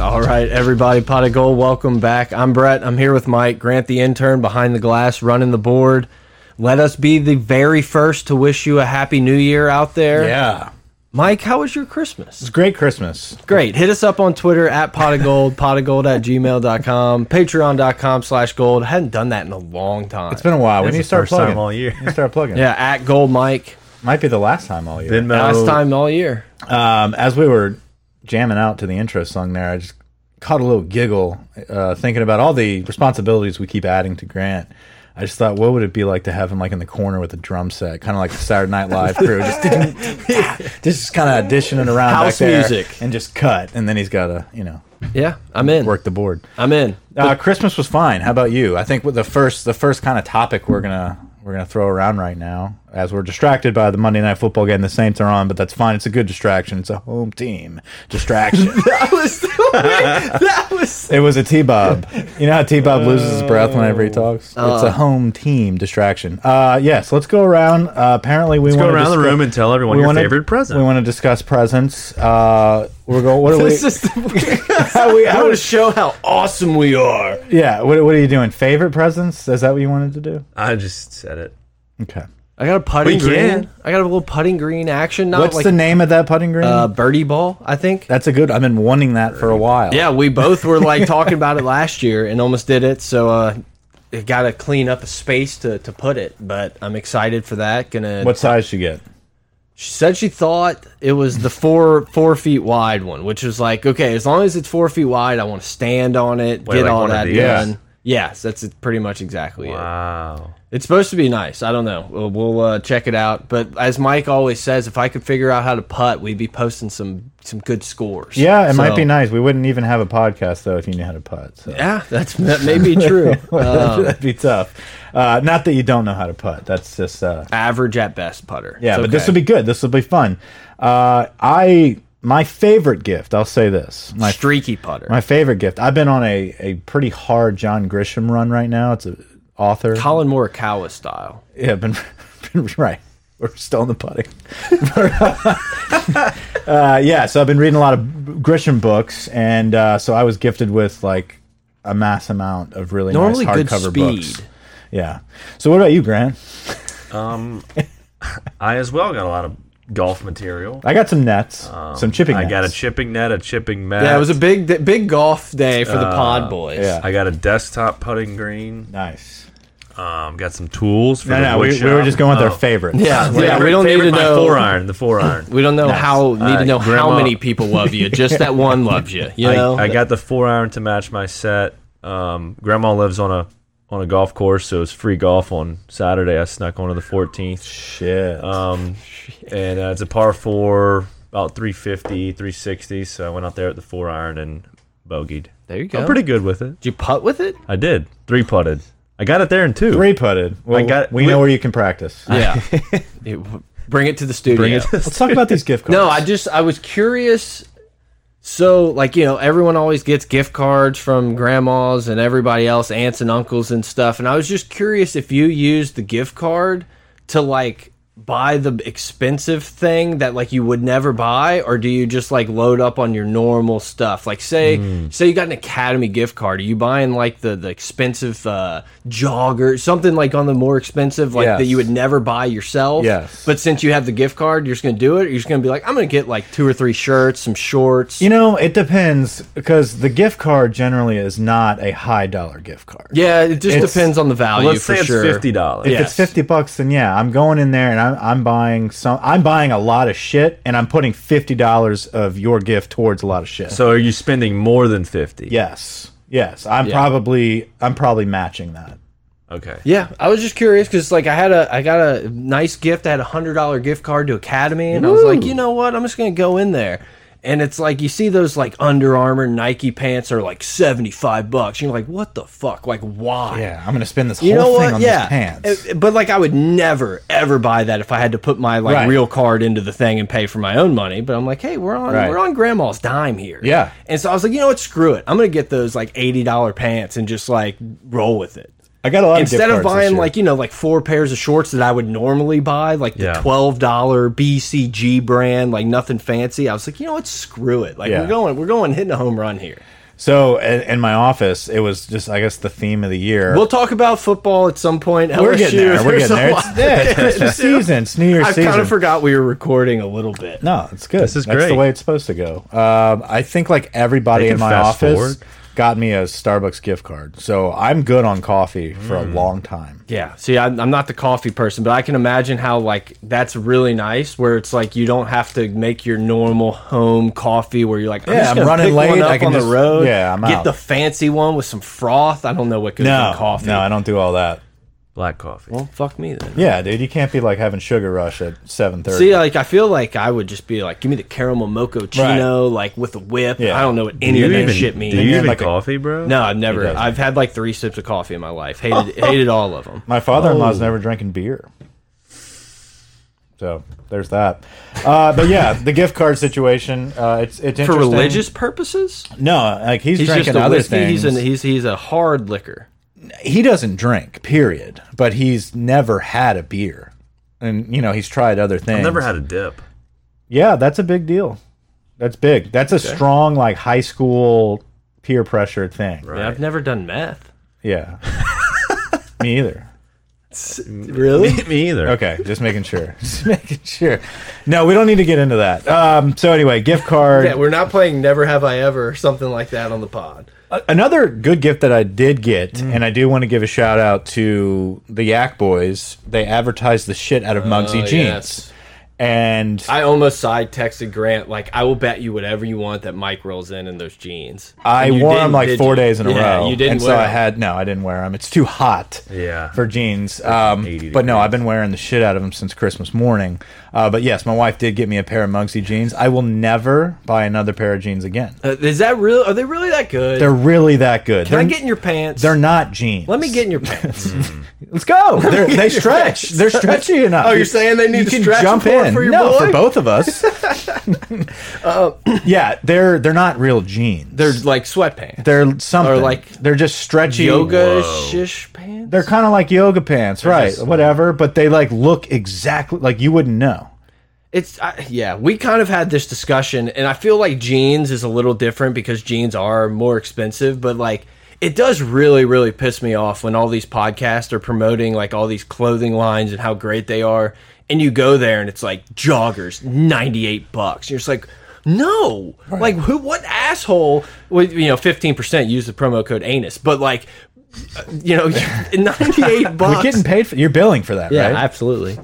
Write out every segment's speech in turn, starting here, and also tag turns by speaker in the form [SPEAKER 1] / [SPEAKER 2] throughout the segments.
[SPEAKER 1] All right, everybody, pot of gold. Welcome back. I'm Brett. I'm here with Mike Grant, the intern behind the glass, running the board. Let us be the very first to wish you a happy New Year out there.
[SPEAKER 2] Yeah.
[SPEAKER 1] Mike, how was your Christmas?
[SPEAKER 2] It's great Christmas.
[SPEAKER 1] Great. Hit us up on Twitter at pot of gold, pot of gold at gmail.com, patreon.com slash gold. Hadn't done that in a long time.
[SPEAKER 2] It's been a while. We
[SPEAKER 3] It's
[SPEAKER 2] need
[SPEAKER 3] the
[SPEAKER 2] to start
[SPEAKER 3] first
[SPEAKER 2] plugging.
[SPEAKER 3] time all year.
[SPEAKER 2] We need to start plugging.
[SPEAKER 1] yeah, at gold Mike.
[SPEAKER 2] Might be the last time all year.
[SPEAKER 3] Venmo.
[SPEAKER 1] Last time all year.
[SPEAKER 2] Um, as we were jamming out to the intro song there, I just caught a little giggle uh, thinking about all the responsibilities we keep adding to Grant. I just thought, what would it be like to have him like in the corner with a drum set, kind of like the Saturday Night Live crew, just just kind of auditioning around
[SPEAKER 1] House
[SPEAKER 2] back there
[SPEAKER 1] music.
[SPEAKER 2] and just cut, and then he's got to you know
[SPEAKER 1] Yeah, I'm in.
[SPEAKER 2] work the board.
[SPEAKER 1] I'm in.
[SPEAKER 2] Uh, Christmas was fine. How about you? I think with the first the first kind of topic we're gonna we're gonna throw around right now, as we're distracted by the Monday night football game the Saints are on, but that's fine. It's a good distraction. It's a home team distraction.
[SPEAKER 1] That was so weird. That was
[SPEAKER 2] it was a T Bob. You know how T Bob loses his breath whenever he talks.
[SPEAKER 1] Uh,
[SPEAKER 2] it's a home team distraction. Uh, yes, let's go around. Uh, apparently, we
[SPEAKER 3] Go
[SPEAKER 2] wanna
[SPEAKER 3] around the
[SPEAKER 2] discuss-
[SPEAKER 3] room and tell everyone
[SPEAKER 2] we
[SPEAKER 3] your
[SPEAKER 2] wanna-
[SPEAKER 3] favorite present.
[SPEAKER 2] We want to discuss presents. Uh, we're going. What are we?
[SPEAKER 1] this is the
[SPEAKER 2] How we,
[SPEAKER 1] I
[SPEAKER 2] how
[SPEAKER 1] want to
[SPEAKER 2] we
[SPEAKER 1] show how awesome we are.
[SPEAKER 2] yeah. What, what are you doing? Favorite presents? Is that what you wanted to do?
[SPEAKER 3] I just said it.
[SPEAKER 2] Okay.
[SPEAKER 1] I got a putting
[SPEAKER 3] We can.
[SPEAKER 1] green. I got a little putting green action, not
[SPEAKER 2] What's
[SPEAKER 1] like
[SPEAKER 2] the name of that putting green?
[SPEAKER 1] uh, birdie ball. I think.
[SPEAKER 2] That's a good. I've been wanting that for a while.
[SPEAKER 1] Yeah, we both were like talking about it last year and almost did it. So uh, got to clean up a space to to put it. But I'm excited for that. Gonna.
[SPEAKER 2] What size you get?
[SPEAKER 1] She said she thought it was the four four feet wide one, which is like okay, as long as it's four feet wide, I want to stand on it,
[SPEAKER 3] Wait,
[SPEAKER 1] get
[SPEAKER 3] like
[SPEAKER 1] all
[SPEAKER 3] one of
[SPEAKER 1] that
[SPEAKER 3] these?
[SPEAKER 1] done. Yes, that's pretty much exactly it.
[SPEAKER 3] Wow.
[SPEAKER 1] It's supposed to be nice. I don't know. We'll, we'll uh, check it out. But as Mike always says, if I could figure out how to putt, we'd be posting some some good scores.
[SPEAKER 2] Yeah, it might
[SPEAKER 1] So-
[SPEAKER 2] be nice. We wouldn't even have a podcast though if you knew how to putt. So.
[SPEAKER 1] Yeah, that's that may be true.
[SPEAKER 2] Well,
[SPEAKER 1] Um,
[SPEAKER 2] that'd be tough. Uh, not that you don't know how to putt. That's just uh,
[SPEAKER 1] average at best putter.
[SPEAKER 2] yeah.
[SPEAKER 1] It's
[SPEAKER 2] But this
[SPEAKER 1] okay.
[SPEAKER 2] will be good. This will be fun. Uh, I my favorite gift. I'll say this. My
[SPEAKER 1] streaky putter.
[SPEAKER 2] my favorite gift. I've been on a a pretty hard John Grisham run right now. It's a author.
[SPEAKER 1] Colin Morikawa style.
[SPEAKER 2] Yeah, been, been right. We're still in the putting. uh, yeah, so I've been reading a lot of Grisham books, and uh, so I was gifted with like a mass amount of really
[SPEAKER 1] Normally
[SPEAKER 2] nice
[SPEAKER 1] good
[SPEAKER 2] hardcover
[SPEAKER 1] speed.
[SPEAKER 2] books. Yeah. So what about you, Grant?
[SPEAKER 3] I as well got a lot of golf material.
[SPEAKER 2] I got some nets, some chipping.
[SPEAKER 3] Um, I
[SPEAKER 2] nets.
[SPEAKER 3] got a chipping net, a chipping mat.
[SPEAKER 1] Yeah, it was a big d- big golf day for the pod boys.
[SPEAKER 2] Uh, yeah.
[SPEAKER 3] I got a desktop putting green.
[SPEAKER 2] Nice.
[SPEAKER 3] Um, got some tools for
[SPEAKER 2] No,
[SPEAKER 3] the
[SPEAKER 2] no,
[SPEAKER 3] wood
[SPEAKER 2] we, we were
[SPEAKER 3] shop.
[SPEAKER 2] just going with
[SPEAKER 3] Oh.
[SPEAKER 2] our favorites.
[SPEAKER 1] Yeah, yeah, we
[SPEAKER 3] Favorite-
[SPEAKER 1] don't need
[SPEAKER 3] favorite,
[SPEAKER 1] to
[SPEAKER 3] my
[SPEAKER 1] know.
[SPEAKER 3] four iron, the four iron.
[SPEAKER 1] We don't know how need to
[SPEAKER 3] Uh,
[SPEAKER 1] know how
[SPEAKER 3] grandma-
[SPEAKER 1] many people love you. Just that one loves you. You
[SPEAKER 3] I,
[SPEAKER 1] know.
[SPEAKER 3] I got the four iron to match my set. Um, grandma lives on a on a golf course, so it's free golf on Saturday. I snuck onto the 14th,
[SPEAKER 2] Shit.
[SPEAKER 3] um, and uh, it's a par four, about 350, 360. So I went out there at the four iron and bogeyed.
[SPEAKER 1] there you go.
[SPEAKER 3] I'm pretty good with it.
[SPEAKER 1] Did you putt with it?
[SPEAKER 3] I did three putted. I got it there in two.
[SPEAKER 2] Three putted. Well,
[SPEAKER 3] got-
[SPEAKER 2] we,
[SPEAKER 3] we-
[SPEAKER 2] know where you can practice.
[SPEAKER 1] Yeah. It- bring it to the studio.
[SPEAKER 3] Bring it to
[SPEAKER 2] Let's talk about these gift cards.
[SPEAKER 1] No, I just I was curious. So, like you know, everyone always gets gift cards from grandmas and everybody else, aunts and uncles and stuff. And I was just curious if you used the gift card to like buy the expensive thing that like you would never buy, or do you just like load up on your normal stuff? Like, say
[SPEAKER 2] Hmm.
[SPEAKER 1] say you got an Academy gift card, are you buying like the the expensive uh, jogger, something like on the more expensive like
[SPEAKER 2] Yes.
[SPEAKER 1] that you would never buy yourself?
[SPEAKER 2] Yes.
[SPEAKER 1] But since you have the gift card, you're just going to do it. Or you're just going to be like, I'm going to get like two or three shirts, some shorts.
[SPEAKER 2] You know, it depends because the gift card generally is not a high dollar gift card.
[SPEAKER 1] yeah, it just
[SPEAKER 2] It's-
[SPEAKER 1] depends on the value.
[SPEAKER 3] Let's
[SPEAKER 1] for
[SPEAKER 3] say it's
[SPEAKER 1] sure.
[SPEAKER 3] fifty dollars.
[SPEAKER 2] If
[SPEAKER 1] Yeah.
[SPEAKER 2] it's fifty bucks, then yeah, I'm going in there and I'm, I'm buying some. I'm buying a lot of shit, and I'm putting fifty dollars of your gift towards a lot of shit.
[SPEAKER 3] So are you spending more than fifty?
[SPEAKER 2] yes, yes, I'm
[SPEAKER 1] Yeah.
[SPEAKER 2] probably I'm probably matching that.
[SPEAKER 3] Okay.
[SPEAKER 1] Yeah, I was just curious because like I had a I got a nice gift. I had a hundred dollar gift card to Academy, and I was like, you know what? I'm just gonna go in there. And it's like you see those like Under Armour Nike pants are like seventy five bucks. You're like, what the fuck? Like why?
[SPEAKER 2] Yeah, I'm gonna spend this
[SPEAKER 1] You know
[SPEAKER 2] whole thing
[SPEAKER 1] what?
[SPEAKER 2] on
[SPEAKER 1] yeah.
[SPEAKER 2] these pants.
[SPEAKER 1] Uh, But like I would never ever buy that if I had to put my like
[SPEAKER 2] Right.
[SPEAKER 1] real card into the thing and pay for my own money. But I'm like, hey, we're on
[SPEAKER 2] Right.
[SPEAKER 1] we're on grandma's dime here.
[SPEAKER 2] Yeah.
[SPEAKER 1] And so I was like, you know what? Screw it. I'm gonna get those like eighty dollar pants and just like roll with it
[SPEAKER 2] I got a lot
[SPEAKER 1] instead of
[SPEAKER 2] of gift cards this
[SPEAKER 1] buying
[SPEAKER 2] year.
[SPEAKER 1] like you know like four pairs of shorts that I would normally buy, like the
[SPEAKER 3] Yeah.
[SPEAKER 1] twelve dollar BCG brand, like nothing fancy. I was like, you know what, screw it. Like
[SPEAKER 2] Yeah.
[SPEAKER 1] we're going, we're going hitting a home run here.
[SPEAKER 2] so. In, in my office, it was just I guess the theme of the year.
[SPEAKER 1] We'll talk about football at some point.
[SPEAKER 2] we're getting
[SPEAKER 1] LSU,
[SPEAKER 2] there. We're
[SPEAKER 1] there's
[SPEAKER 2] getting there.
[SPEAKER 1] a
[SPEAKER 2] It's,
[SPEAKER 1] lot
[SPEAKER 2] yeah, it's
[SPEAKER 1] to
[SPEAKER 2] Christmas
[SPEAKER 1] do.
[SPEAKER 2] season. It's New Year's
[SPEAKER 1] I
[SPEAKER 2] season.
[SPEAKER 1] kind of forgot we were recording a little bit.
[SPEAKER 2] No, it's good.
[SPEAKER 3] This is
[SPEAKER 2] That's the
[SPEAKER 3] great.
[SPEAKER 2] way it's supposed to go. Um, I think like everybody
[SPEAKER 3] They
[SPEAKER 2] in
[SPEAKER 3] can
[SPEAKER 2] my
[SPEAKER 3] fast
[SPEAKER 2] office
[SPEAKER 3] forward.
[SPEAKER 2] got me a Starbucks gift card, so I'm good on coffee for
[SPEAKER 3] Mm.
[SPEAKER 2] a long time.
[SPEAKER 1] Yeah. See, I'm, I'm not the coffee person, but I can imagine how like that's really nice, where it's like you don't have to make your normal home coffee, where you're like, I'm
[SPEAKER 2] Yeah,
[SPEAKER 1] just
[SPEAKER 2] I'm
[SPEAKER 1] gonna
[SPEAKER 2] running
[SPEAKER 1] pick
[SPEAKER 2] late,
[SPEAKER 1] One up
[SPEAKER 2] I can
[SPEAKER 1] on
[SPEAKER 2] just-
[SPEAKER 1] the road.
[SPEAKER 2] yeah, I'm
[SPEAKER 1] get
[SPEAKER 2] out.
[SPEAKER 1] the fancy one with some froth. I don't know what goes
[SPEAKER 2] No,
[SPEAKER 1] in coffee.
[SPEAKER 2] no, I don't do all that.
[SPEAKER 3] Black coffee.
[SPEAKER 1] Well, fuck me then.
[SPEAKER 2] Yeah, dude, you can't be like having sugar rush at seven
[SPEAKER 1] See,
[SPEAKER 2] thirty.
[SPEAKER 1] like I feel like I would just be like, give me the caramel mochaccino, chino, like with a whip.
[SPEAKER 2] Yeah.
[SPEAKER 1] I don't know what
[SPEAKER 3] Do
[SPEAKER 1] any
[SPEAKER 3] you
[SPEAKER 1] of that
[SPEAKER 3] even
[SPEAKER 1] shit means.
[SPEAKER 3] Do you
[SPEAKER 2] Yeah,
[SPEAKER 3] even
[SPEAKER 2] like a-
[SPEAKER 3] coffee, bro?
[SPEAKER 1] no, I've never.
[SPEAKER 2] doesn't.
[SPEAKER 1] I've had like three sips of coffee in my life. Hated, hated all of them.
[SPEAKER 2] My
[SPEAKER 1] oh.
[SPEAKER 2] father-in-law's never drinking beer, so there's that. Uh, but yeah, the gift card situation. Uh, it's it's
[SPEAKER 1] For
[SPEAKER 2] interesting.
[SPEAKER 1] religious purposes,
[SPEAKER 2] No, like he's,
[SPEAKER 1] he's
[SPEAKER 2] drinking
[SPEAKER 1] just a
[SPEAKER 2] other
[SPEAKER 1] whiskey.
[SPEAKER 2] things.
[SPEAKER 1] He's, an, he's he's a hard liquor.
[SPEAKER 2] he doesn't drink, period. But he's never had a beer, and you know he's tried other things.
[SPEAKER 3] I've never had a dip.
[SPEAKER 2] Yeah, that's a big deal. That's big. That's a strong like high school peer pressure thing.
[SPEAKER 1] Yeah, I've never done meth.
[SPEAKER 2] Yeah. Me either.
[SPEAKER 1] Really?
[SPEAKER 3] Me either.
[SPEAKER 2] Okay, just making sure. Just making sure. No, we don't need to get into that. Um, so anyway, gift card.
[SPEAKER 1] yeah, we're not playing Never Have I Ever or something like that on the pod.
[SPEAKER 3] uh,
[SPEAKER 2] Another good gift that I did get,
[SPEAKER 3] Mm.
[SPEAKER 2] and I do want to give a shout out to the Yak Boys. They advertised the shit out of Mugsy
[SPEAKER 3] Oh,
[SPEAKER 1] yes.
[SPEAKER 2] jeans, and
[SPEAKER 1] I almost side texted Grant like I will bet you whatever you want that Mike rolls in in those jeans.
[SPEAKER 2] I
[SPEAKER 1] And you
[SPEAKER 2] wore
[SPEAKER 1] didn't,
[SPEAKER 2] them like
[SPEAKER 1] did
[SPEAKER 2] four
[SPEAKER 1] you?
[SPEAKER 2] days in a
[SPEAKER 1] Yeah,
[SPEAKER 2] row.
[SPEAKER 1] You didn't
[SPEAKER 2] and
[SPEAKER 1] wear
[SPEAKER 2] so I
[SPEAKER 1] them.
[SPEAKER 2] had no, I didn't wear them. It's too hot.
[SPEAKER 3] Yeah.
[SPEAKER 2] For jeans. Um,
[SPEAKER 3] 80
[SPEAKER 2] but no,
[SPEAKER 3] degrees.
[SPEAKER 2] I've been wearing the shit out of them since Christmas morning. Uh, but yes, my wife did get me a pair of Mugsy jeans. I will never buy another pair of jeans again.
[SPEAKER 1] Uh, is that real? Are they really that good?
[SPEAKER 2] They're really that good.
[SPEAKER 1] Can I
[SPEAKER 2] they're,
[SPEAKER 1] get in your pants?
[SPEAKER 2] they're not jeans.
[SPEAKER 1] Let me get in your pants.
[SPEAKER 2] Let's go. They're, they stretch. They're stretchy enough.
[SPEAKER 1] Oh, you're saying they need
[SPEAKER 2] you
[SPEAKER 1] to
[SPEAKER 2] can
[SPEAKER 1] stretch
[SPEAKER 2] jump
[SPEAKER 1] for-
[SPEAKER 2] in
[SPEAKER 1] for your
[SPEAKER 2] no,
[SPEAKER 1] boy?
[SPEAKER 2] for both of us. yeah, they're they're not real jeans.
[SPEAKER 1] they're like sweatpants.
[SPEAKER 2] they're something.
[SPEAKER 1] like
[SPEAKER 2] they're just stretchy
[SPEAKER 1] yoga
[SPEAKER 3] Whoa.
[SPEAKER 1] shish pants.
[SPEAKER 2] They're kind of like yoga pants, right?
[SPEAKER 3] just-
[SPEAKER 2] Whatever, but they like look exactly like you wouldn't know.
[SPEAKER 1] it's I, yeah. We kind of had this discussion, and I feel like jeans is a little different because jeans are more expensive. But like, it does really, really piss me off when all these podcasts are promoting like all these clothing lines and how great they are, and you go there and it's like joggers, ninety eight bucks. You're just like. No, like who? What asshole? With you know, fifteen percent use the promo code anus, but like, uh, you know, ninety eight bucks.
[SPEAKER 2] We're getting paid for you're billing for that,
[SPEAKER 1] Yeah,
[SPEAKER 2] right?
[SPEAKER 1] absolutely.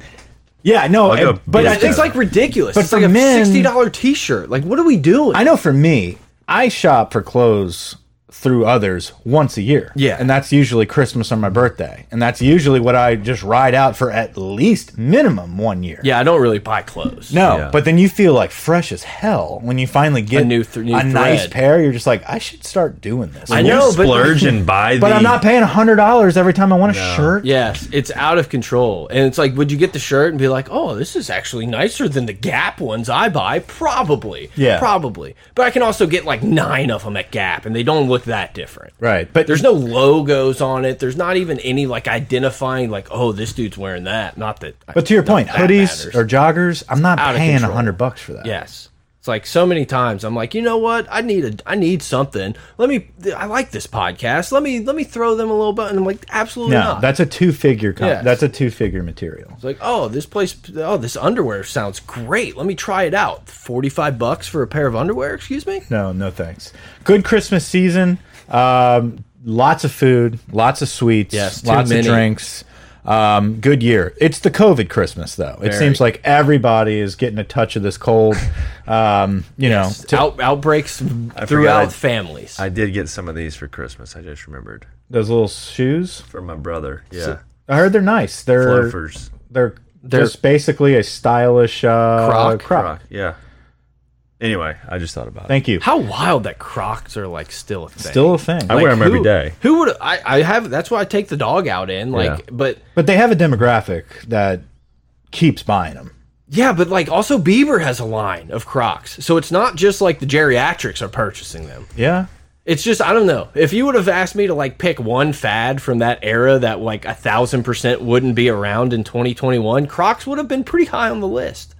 [SPEAKER 2] yeah, no,
[SPEAKER 3] go
[SPEAKER 2] and- but
[SPEAKER 3] business
[SPEAKER 2] I
[SPEAKER 1] I think
[SPEAKER 2] think
[SPEAKER 1] it's like ridiculous.
[SPEAKER 2] But
[SPEAKER 1] it's like
[SPEAKER 2] for
[SPEAKER 1] a
[SPEAKER 2] men-
[SPEAKER 1] sixty dollar t shirt. Like, what are we doing?
[SPEAKER 2] I know for me, I shop for clothes through others once a year.
[SPEAKER 1] Yeah.
[SPEAKER 2] And that's usually Christmas or my birthday. And that's usually what I just ride out for at least minimum one year.
[SPEAKER 1] yeah, I don't really buy clothes.
[SPEAKER 2] No,
[SPEAKER 3] Yeah.
[SPEAKER 2] but then you feel like fresh as hell when you finally get
[SPEAKER 1] new th- new
[SPEAKER 2] a nice
[SPEAKER 1] thread.
[SPEAKER 2] pair. You're just like, I should start doing this.
[SPEAKER 1] I
[SPEAKER 3] You
[SPEAKER 1] know, but-
[SPEAKER 3] splurge and buy
[SPEAKER 2] But
[SPEAKER 3] the
[SPEAKER 2] I'm not paying hundred dollars every time I want a shirt.
[SPEAKER 1] Yes, it's out of control, and it's like, would you get the shirt and be like, "Oh, this is actually nicer than the Gap ones I buy"? Probably,
[SPEAKER 2] Yeah.
[SPEAKER 1] probably. But I can also get like nine of them at Gap, and they don't look that different.
[SPEAKER 2] Right, but
[SPEAKER 1] There's no logos on it. There's not even any like identifying, like, "Oh, this dude's wearing that." Not that. I-
[SPEAKER 2] But to your
[SPEAKER 1] not
[SPEAKER 2] point,
[SPEAKER 1] that
[SPEAKER 2] hoodies
[SPEAKER 1] matters.
[SPEAKER 2] or joggers, I'm not
[SPEAKER 1] Out of
[SPEAKER 2] paying a
[SPEAKER 1] control.
[SPEAKER 2] hundred bucks for that.
[SPEAKER 1] Yes. It's like so many times I'm like, you know what? I need a I need something. Let me I like this podcast. Let me let me throw them a little bit and I'm like, absolutely
[SPEAKER 2] no,
[SPEAKER 1] not.
[SPEAKER 2] that's a two figure. Com-
[SPEAKER 1] Yes.
[SPEAKER 2] That's a two figure material.
[SPEAKER 1] it's like, oh, this place oh, this underwear sounds great. Let me try it out. Forty five bucks for a pair of underwear, excuse me?
[SPEAKER 2] No, no thanks. Good Christmas season. Um, lots of food, lots of sweets,
[SPEAKER 1] Yes, too
[SPEAKER 2] lots
[SPEAKER 1] many.
[SPEAKER 2] of drinks. Um, good year. It's the COVID Christmas though. It
[SPEAKER 1] Very.
[SPEAKER 2] seems like everybody is getting a touch of this cold. Um, you know, to-
[SPEAKER 1] Out, outbreaks
[SPEAKER 3] forgot I-
[SPEAKER 1] throughout families.
[SPEAKER 3] I did get some of these for Christmas. I just remembered
[SPEAKER 2] those little shoes.
[SPEAKER 3] from my brother. Yeah,
[SPEAKER 2] I heard they're nice. They're
[SPEAKER 3] loafers,
[SPEAKER 2] they're
[SPEAKER 1] They're-
[SPEAKER 2] just basically a stylish uh,
[SPEAKER 1] Croc?
[SPEAKER 3] Croc, Yeah. Anyway, I just thought about it.
[SPEAKER 2] Thank you.
[SPEAKER 1] How wild that Crocs are like still a thing.
[SPEAKER 2] Still a thing.
[SPEAKER 3] I wear them every
[SPEAKER 1] who-
[SPEAKER 3] day.
[SPEAKER 1] Who would I? I have. That's why I take the dog out in. Like,
[SPEAKER 3] Yeah.
[SPEAKER 1] but
[SPEAKER 2] But they have a demographic that keeps buying them.
[SPEAKER 1] yeah, but like also Bieber has a line of Crocs, so it's not just like the geriatrics are purchasing them.
[SPEAKER 2] Yeah.
[SPEAKER 1] It's just I don't know. If you would have asked me to like pick one fad from that era that like a thousand percent wouldn't be around in 2021, Crocs would have been pretty high on the list.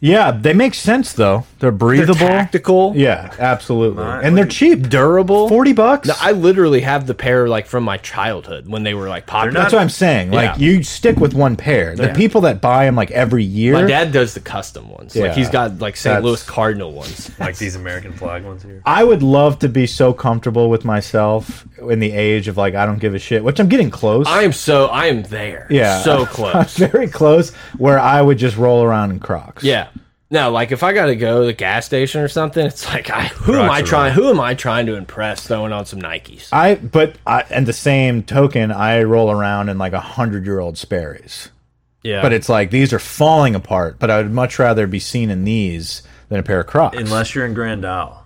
[SPEAKER 2] Yeah, they make sense though. They're
[SPEAKER 1] They're
[SPEAKER 2] breathable.
[SPEAKER 1] tactical,
[SPEAKER 2] Yeah, absolutely.
[SPEAKER 3] My-
[SPEAKER 2] and they're cheap.
[SPEAKER 1] durable.
[SPEAKER 2] 40 bucks?
[SPEAKER 1] I literally have the pair like from my childhood when they were like popular.
[SPEAKER 3] not
[SPEAKER 2] That's what I'm saying.
[SPEAKER 1] Yeah.
[SPEAKER 2] Like you stick with one pair. The
[SPEAKER 1] Yeah.
[SPEAKER 2] people that buy them like every year.
[SPEAKER 1] my dad does the custom ones. Like
[SPEAKER 2] Yeah.
[SPEAKER 1] he's got like St.
[SPEAKER 2] That's-
[SPEAKER 1] Louis Cardinal ones.
[SPEAKER 3] Like these American flag ones here.
[SPEAKER 2] I would love to be so comfortable with myself in the age of like I don't give a shit, which I'm getting close.
[SPEAKER 1] I am so I am there.
[SPEAKER 2] Yeah.
[SPEAKER 1] so
[SPEAKER 2] I'm
[SPEAKER 1] close.
[SPEAKER 2] very close where I would just roll around in Crocs.
[SPEAKER 1] yeah. No, like if I got to go to the gas station or something, it's like I who am
[SPEAKER 3] Crocs
[SPEAKER 1] I
[SPEAKER 3] are
[SPEAKER 1] trying who am I trying to impress throwing on some Nikes?
[SPEAKER 2] I but I and the same token, I roll around in like a hundred year old Sperry's.
[SPEAKER 1] Yeah,
[SPEAKER 2] But it's like these are falling apart. But I would much rather be seen in these than a pair of Crocs.
[SPEAKER 3] Unless you're in Grand Isle.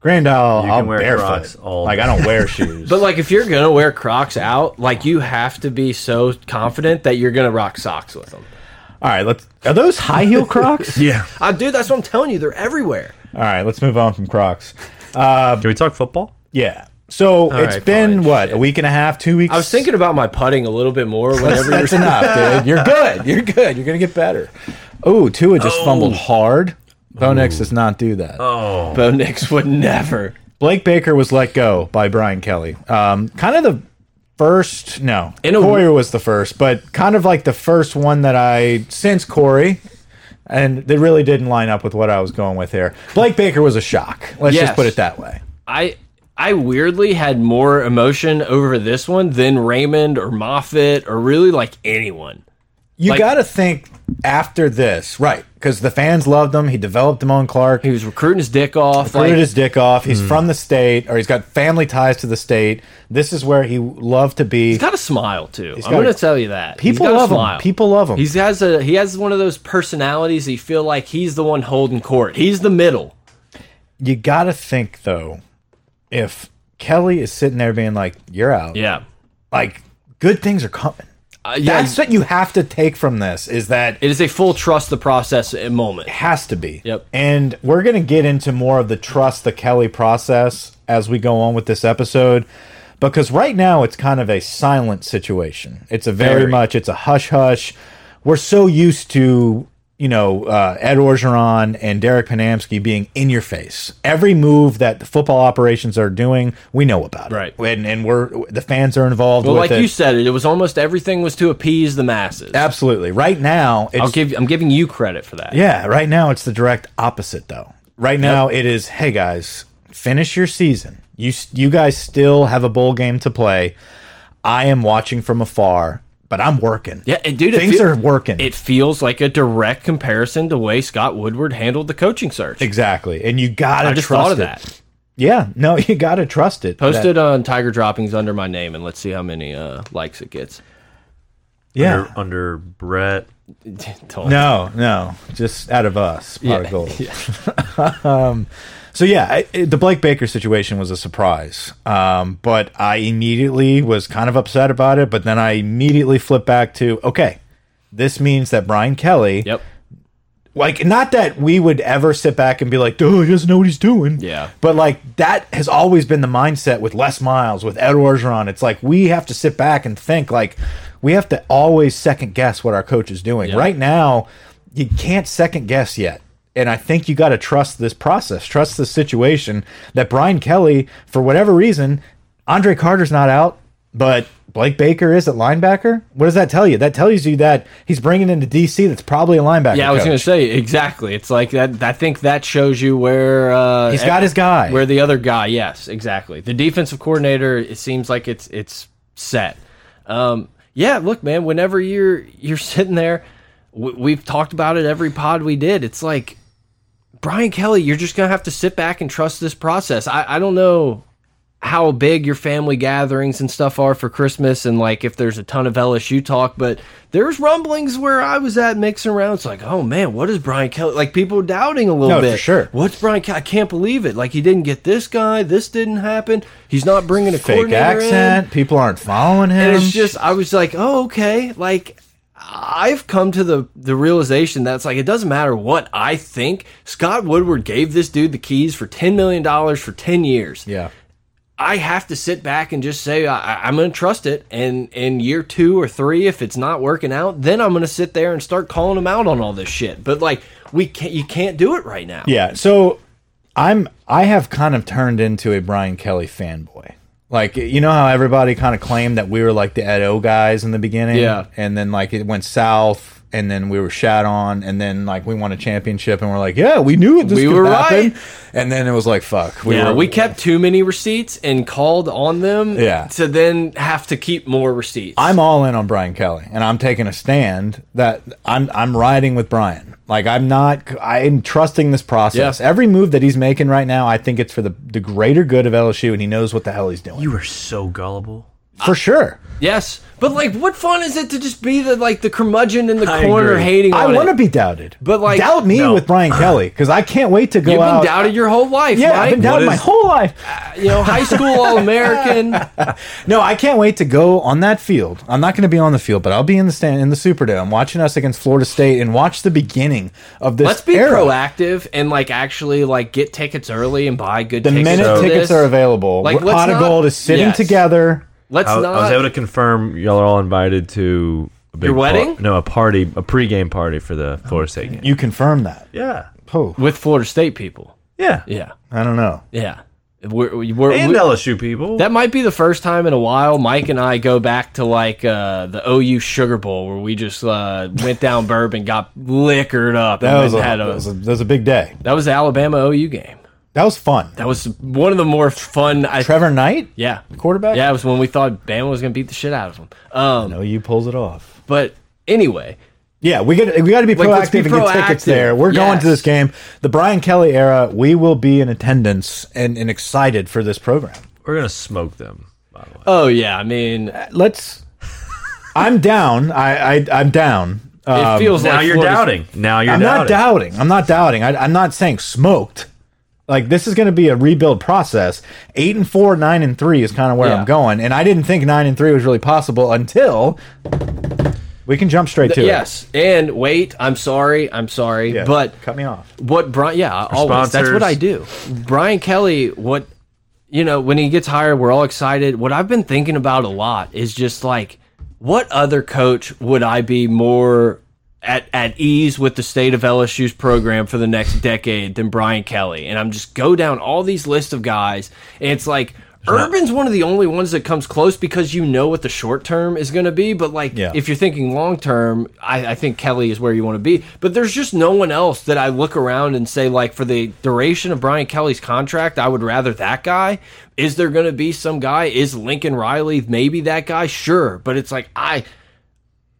[SPEAKER 2] Grand Isle,
[SPEAKER 3] You can
[SPEAKER 2] I'll
[SPEAKER 3] wear
[SPEAKER 2] barefoot.
[SPEAKER 3] Crocs all
[SPEAKER 2] like
[SPEAKER 3] day.
[SPEAKER 2] I don't wear shoes.
[SPEAKER 1] But like, if you're gonna wear Crocs out, like you have to be so confident that you're gonna rock socks with them.
[SPEAKER 2] all right, let's. Are those high heel Crocs?
[SPEAKER 3] Yeah.
[SPEAKER 1] I do. That's what I'm telling you. They're everywhere.
[SPEAKER 2] All right, let's move on from Crocs.
[SPEAKER 3] Can we talk football?
[SPEAKER 2] Yeah. So it's
[SPEAKER 1] right,
[SPEAKER 2] been
[SPEAKER 1] fine.
[SPEAKER 2] what a week and a half, two weeks.
[SPEAKER 1] I was thinking about my putting a little bit more whenever
[SPEAKER 2] that's
[SPEAKER 1] you're.
[SPEAKER 2] enough, dude. You're good. You're good. You're gonna get better. Oh, Tua just fumbled hard. Bo Nix does not do that.
[SPEAKER 3] Oh,
[SPEAKER 1] Bo Nix would never.
[SPEAKER 2] Blake Baker was let go by Brian Kelly. Um, kind of the first, no,
[SPEAKER 1] In a-
[SPEAKER 2] Corey was the first, but kind of like the first one that I since Corey, and they really didn't line up with what I was going with here. Blake Baker was a shock. Let's
[SPEAKER 1] Yes.
[SPEAKER 2] just put it that way.
[SPEAKER 1] I I weirdly had more emotion over this one than Raymond or Moffitt or really like anyone.
[SPEAKER 2] You
[SPEAKER 1] Like-
[SPEAKER 2] got to think after this, right? Because the fans loved him. He developed Damone Clark.
[SPEAKER 1] He was recruiting his dick off.
[SPEAKER 2] Rooted
[SPEAKER 1] like,
[SPEAKER 2] his dick off. He's from the state, or he's got family ties to the state. This is where he loved to be.
[SPEAKER 1] he's got a smile too. I'm
[SPEAKER 2] got a-
[SPEAKER 1] gonna tell you that He's
[SPEAKER 2] People
[SPEAKER 1] got a
[SPEAKER 2] love him.
[SPEAKER 1] smile.
[SPEAKER 2] People love him.
[SPEAKER 1] He's has a he has one of those personalities. that You feel like he's the one holding court. He's the middle.
[SPEAKER 2] you got to think though, if Kelly is sitting there being like, "You're out,"
[SPEAKER 1] Yeah.
[SPEAKER 2] like good things are coming.
[SPEAKER 1] Uh, yeah,
[SPEAKER 2] That's what you have to take from this is that it
[SPEAKER 1] It is a full trust the process uh, moment.
[SPEAKER 2] has to be.
[SPEAKER 1] Yep.
[SPEAKER 2] And we're gonna get into more of the trust the Kelly process as we go on with this episode. Because right now it's kind of a silent situation. It's a very,
[SPEAKER 1] Very.
[SPEAKER 2] much it's a hush hush. We're so used to you know uh, Ed Orgeron and Derek Panamsky being in your face. Every move that the football operations are doing, we know about
[SPEAKER 1] Right.
[SPEAKER 2] it. And and we're the fans are involved
[SPEAKER 1] But
[SPEAKER 2] with
[SPEAKER 1] like
[SPEAKER 2] it.
[SPEAKER 1] you said, it, it was almost everything was to appease the masses.
[SPEAKER 2] Absolutely. Right now, it's
[SPEAKER 1] I'll give I'm giving you credit for that.
[SPEAKER 2] Yeah, right now it's the direct opposite though. Right now it is, hey guys, finish your season. You s- you guys still have a bowl game to play. I am watching from afar, but I'm working.
[SPEAKER 1] Yeah, and dude, it
[SPEAKER 2] things
[SPEAKER 1] feel-
[SPEAKER 2] are working.
[SPEAKER 1] It feels like a direct comparison to the way Scott Woodward handled the coaching search.
[SPEAKER 2] exactly. And you got
[SPEAKER 1] I
[SPEAKER 2] to
[SPEAKER 1] just
[SPEAKER 2] trust
[SPEAKER 1] thought of
[SPEAKER 2] it.
[SPEAKER 1] that.
[SPEAKER 2] Yeah, no, you got to trust it.
[SPEAKER 1] Post
[SPEAKER 2] That-
[SPEAKER 1] it on Tiger Droppings under my name, and let's see how many uh, likes it gets.
[SPEAKER 2] Yeah.
[SPEAKER 3] Under, under Brett.
[SPEAKER 1] Don't-
[SPEAKER 2] No, no, just out of us, pot of gold. um, so yeah, I, it- the Blake Baker situation was a surprise, um, but I immediately was kind of upset about it. But then I immediately flipped back to okay, this means that Brian Kelly,
[SPEAKER 1] Yep.
[SPEAKER 2] like, not that we would ever sit back and be like, "Duh, he doesn't know what he's doing."
[SPEAKER 1] Yeah.
[SPEAKER 2] but like that has always been the mindset with Les Miles, with Ed Orgeron. It's like we have to sit back and think, like, we have to always second guess what our coach is doing. Right now, you can't second guess yet. And I think you got to trust this process, trust the situation that Brian Kelly, for whatever reason, Andre Carter's not out, but Blake Baker is at linebacker. What does that tell you? That tells you that he's bringing into DC that's probably a linebacker.
[SPEAKER 1] Yeah, I was
[SPEAKER 2] coach.
[SPEAKER 1] going to say exactly. It's like that. I think that shows you where uh,
[SPEAKER 2] He's got his guy.
[SPEAKER 1] Where the other guy? Yes, exactly. The defensive coordinator. It seems like it's it's set. Um, yeah, look, man, whenever you're you're sitting there, we, we've talked about it every pod we did. It's like Brian Kelly, you're just gonna have to sit back and trust this process. I, I don't know how big your family gatherings and stuff are for Christmas and like if there's a ton of LSU talk, but there's rumblings where I was at mixing around. It's like, oh man, what is Brian Kelly? Like people doubting a little
[SPEAKER 2] No,
[SPEAKER 1] bit.
[SPEAKER 2] for sure.
[SPEAKER 1] What's Brian Kelly? I can't believe it. Like he didn't get this guy. This didn't happen. He's not bringing a
[SPEAKER 2] Fake
[SPEAKER 1] coordinator in.
[SPEAKER 2] accent. People aren't following him.
[SPEAKER 1] And it's just I was like, oh okay. Like I've come to the the realization that's like it doesn't matter what I think. Scott Woodward gave this dude the keys for ten million dollars for ten years.
[SPEAKER 2] yeah.
[SPEAKER 1] I have to sit back and just say I, I- I'm going to trust it. And in year two or three, if it's not working out, then I'm going to sit there and start calling him out on all this shit. But like we can't, you can't do it right now.
[SPEAKER 2] Yeah. So I'm I have kind of turned into a Brian Kelly fanboy. Like you know how everybody kind of claimed that we were like the Ed O guys in the beginning.
[SPEAKER 1] Yeah.
[SPEAKER 2] And then like it went south and then we were shat on and then like we won a championship and we're like, Yeah, we knew it this
[SPEAKER 1] We
[SPEAKER 2] could
[SPEAKER 1] were
[SPEAKER 2] happen.
[SPEAKER 1] right.
[SPEAKER 2] And then it was like fuck.
[SPEAKER 1] We,
[SPEAKER 2] were
[SPEAKER 1] we kept too many receipts and called on them
[SPEAKER 2] Yeah.
[SPEAKER 1] to then have to keep more receipts.
[SPEAKER 2] I'm all in on Brian Kelly, and I'm taking a stand that I'm I'm riding with Brian. Like I'm not, I'm trusting this process.
[SPEAKER 1] Yeah.
[SPEAKER 2] Every move that he's making right now, I think it's for the the greater good of LSU, and he knows what the hell he's doing
[SPEAKER 3] You are so gullible.
[SPEAKER 2] for sure.
[SPEAKER 1] yes. But like, what fun is it to just be the like the curmudgeon in the
[SPEAKER 3] I
[SPEAKER 1] corner
[SPEAKER 3] agree.
[SPEAKER 1] hating
[SPEAKER 2] I
[SPEAKER 1] on
[SPEAKER 2] want to
[SPEAKER 1] it?
[SPEAKER 2] be doubted,
[SPEAKER 1] But, like,
[SPEAKER 2] doubt me
[SPEAKER 3] no.
[SPEAKER 2] with Brian Kelly because I can't wait to go
[SPEAKER 1] You've
[SPEAKER 2] out.
[SPEAKER 1] been doubted your whole life,
[SPEAKER 2] yeah, I've
[SPEAKER 1] Mike.
[SPEAKER 2] been doubted
[SPEAKER 3] What
[SPEAKER 2] my
[SPEAKER 3] is-
[SPEAKER 2] whole life.
[SPEAKER 1] you know, high school all American.
[SPEAKER 2] No, I can't wait to go on that field. I'm not going to be on the field, but I'll be in the stand in the Superdome watching us against Florida State and watch the beginning of this.
[SPEAKER 1] Let's be
[SPEAKER 2] era.
[SPEAKER 1] proactive and like actually like get tickets early and buy good
[SPEAKER 2] The
[SPEAKER 1] tickets.
[SPEAKER 2] minute
[SPEAKER 1] for
[SPEAKER 2] tickets
[SPEAKER 1] this.
[SPEAKER 2] are available,
[SPEAKER 1] Like,
[SPEAKER 2] like,
[SPEAKER 1] let's
[SPEAKER 2] Pot of
[SPEAKER 1] not-
[SPEAKER 2] Gold is sitting
[SPEAKER 1] Yes.
[SPEAKER 2] together.
[SPEAKER 1] Let's
[SPEAKER 3] I,
[SPEAKER 1] not.
[SPEAKER 3] I was able to confirm y'all are all invited to a big
[SPEAKER 1] Your
[SPEAKER 3] par-
[SPEAKER 1] wedding?
[SPEAKER 3] no, a party, a pregame party for the Florida State game.
[SPEAKER 2] You confirm that.
[SPEAKER 3] Yeah,
[SPEAKER 2] Oh,
[SPEAKER 1] with Florida State people.
[SPEAKER 3] yeah,
[SPEAKER 1] Yeah,
[SPEAKER 2] I don't know.
[SPEAKER 1] yeah. We're, we're,
[SPEAKER 3] and
[SPEAKER 1] we-
[SPEAKER 3] LSU people.
[SPEAKER 1] that might be the first time in a while Mike and I go back to like uh, the OU Sugar Bowl where we just uh, went down bourbon, got liquored up,
[SPEAKER 2] That
[SPEAKER 1] and
[SPEAKER 2] was, a,
[SPEAKER 1] then had
[SPEAKER 2] that,
[SPEAKER 1] a.
[SPEAKER 2] was a, that was a big day.
[SPEAKER 1] That was the Alabama OU game.
[SPEAKER 2] That was fun.
[SPEAKER 1] That was one of the more fun. I,
[SPEAKER 2] Trevor Knight,
[SPEAKER 1] yeah,
[SPEAKER 2] quarterback.
[SPEAKER 1] yeah. It was when we thought Bama was going to beat the shit out of them. Um,
[SPEAKER 2] no, you pulls it off.
[SPEAKER 1] but anyway.
[SPEAKER 2] Yeah, we get we got to be
[SPEAKER 1] Like,
[SPEAKER 2] proactive
[SPEAKER 1] let's be
[SPEAKER 2] and get tickets
[SPEAKER 1] proactive.
[SPEAKER 2] there. We're going
[SPEAKER 1] Yes.
[SPEAKER 2] to this game. The Brian Kelly era. We will be in attendance and, and excited for this program.
[SPEAKER 3] We're gonna smoke them. By the way,
[SPEAKER 1] Oh yeah, I mean,
[SPEAKER 2] Let's. I'm down. I, I I'm down.
[SPEAKER 1] It
[SPEAKER 2] Um,
[SPEAKER 1] feels
[SPEAKER 3] now
[SPEAKER 1] like
[SPEAKER 3] you're
[SPEAKER 1] Florida's-
[SPEAKER 3] doubting. Now you're
[SPEAKER 2] I'm
[SPEAKER 3] doubting.
[SPEAKER 2] not doubting. I'm not doubting. I, I'm not saying smoked. Like this is going to be a rebuild process. Eight and four, nine and three is kind of where
[SPEAKER 1] Yeah.
[SPEAKER 2] I'm going, and I didn't think nine and three was really possible until we can jump straight to it.
[SPEAKER 1] Yes, and wait. I'm sorry. I'm sorry.
[SPEAKER 2] Yeah,
[SPEAKER 1] But
[SPEAKER 2] cut me off.
[SPEAKER 1] what Brian? Yeah, I always. That's what
[SPEAKER 3] sponsors.
[SPEAKER 1] I do. Brian Kelly. What you know when he gets hired, we're all excited. What I've been thinking about a lot is just like, what other coach would I be more at at ease with the state of LSU's program for the next decade than Brian Kelly? And I'm just go down all these lists of guys, and it's like. Urban's one of the only ones that comes close because you know what the short term is going to be, but like
[SPEAKER 2] Yeah.
[SPEAKER 1] if you're thinking long term, I, I think Kelly is where you want to be. But there's just no one else that I look around and say, like, for the duration of Brian Kelly's contract, I would rather that guy. Is there going to be some guy? Is Lincoln Riley maybe that guy? Sure. But it's like, I.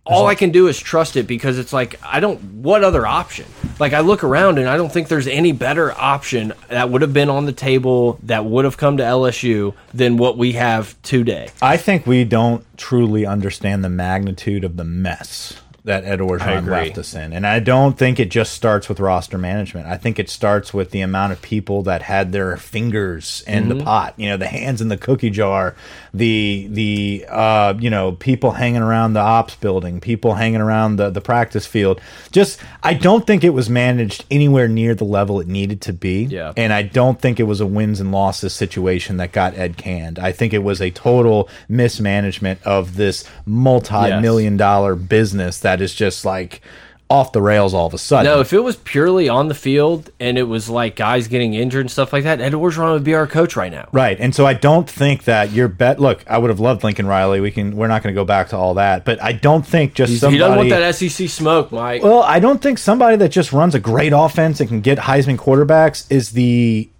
[SPEAKER 1] All I can do is trust it because it's like I don't. What other option? Like I look around and I don't think there's any better option that would have been on the table that would have come to LSU than what we have today.
[SPEAKER 2] I think we don't truly understand the magnitude of the mess that Ed Orgeron
[SPEAKER 1] agree.
[SPEAKER 2] left us in. And I don't think it just starts with roster management. I think it starts with the amount of people that had their fingers in the pot, you know, the hands in the cookie jar, the the uh, you know, people hanging around the ops building, people hanging around the the practice field. Just I don't think it was managed anywhere near the level it needed to be.
[SPEAKER 1] Yeah.
[SPEAKER 2] And I don't think it was a wins and losses situation that got Ed canned. I think it was a total mismanagement of this multi million dollar business that is just like off the rails all of a sudden.
[SPEAKER 1] No, if it was purely on the field and it was like guys getting injured and stuff like that, Ed Orgeron would be our coach right now.
[SPEAKER 2] Right. And so I don't think that your bet look, I would have loved Lincoln Riley. We can we're not gonna go back to all that, but I don't think just somebody
[SPEAKER 1] He doesn't want that SEC smoke, Mike.
[SPEAKER 2] Well, I don't think somebody that just runs a great offense and can get Heisman quarterbacks is the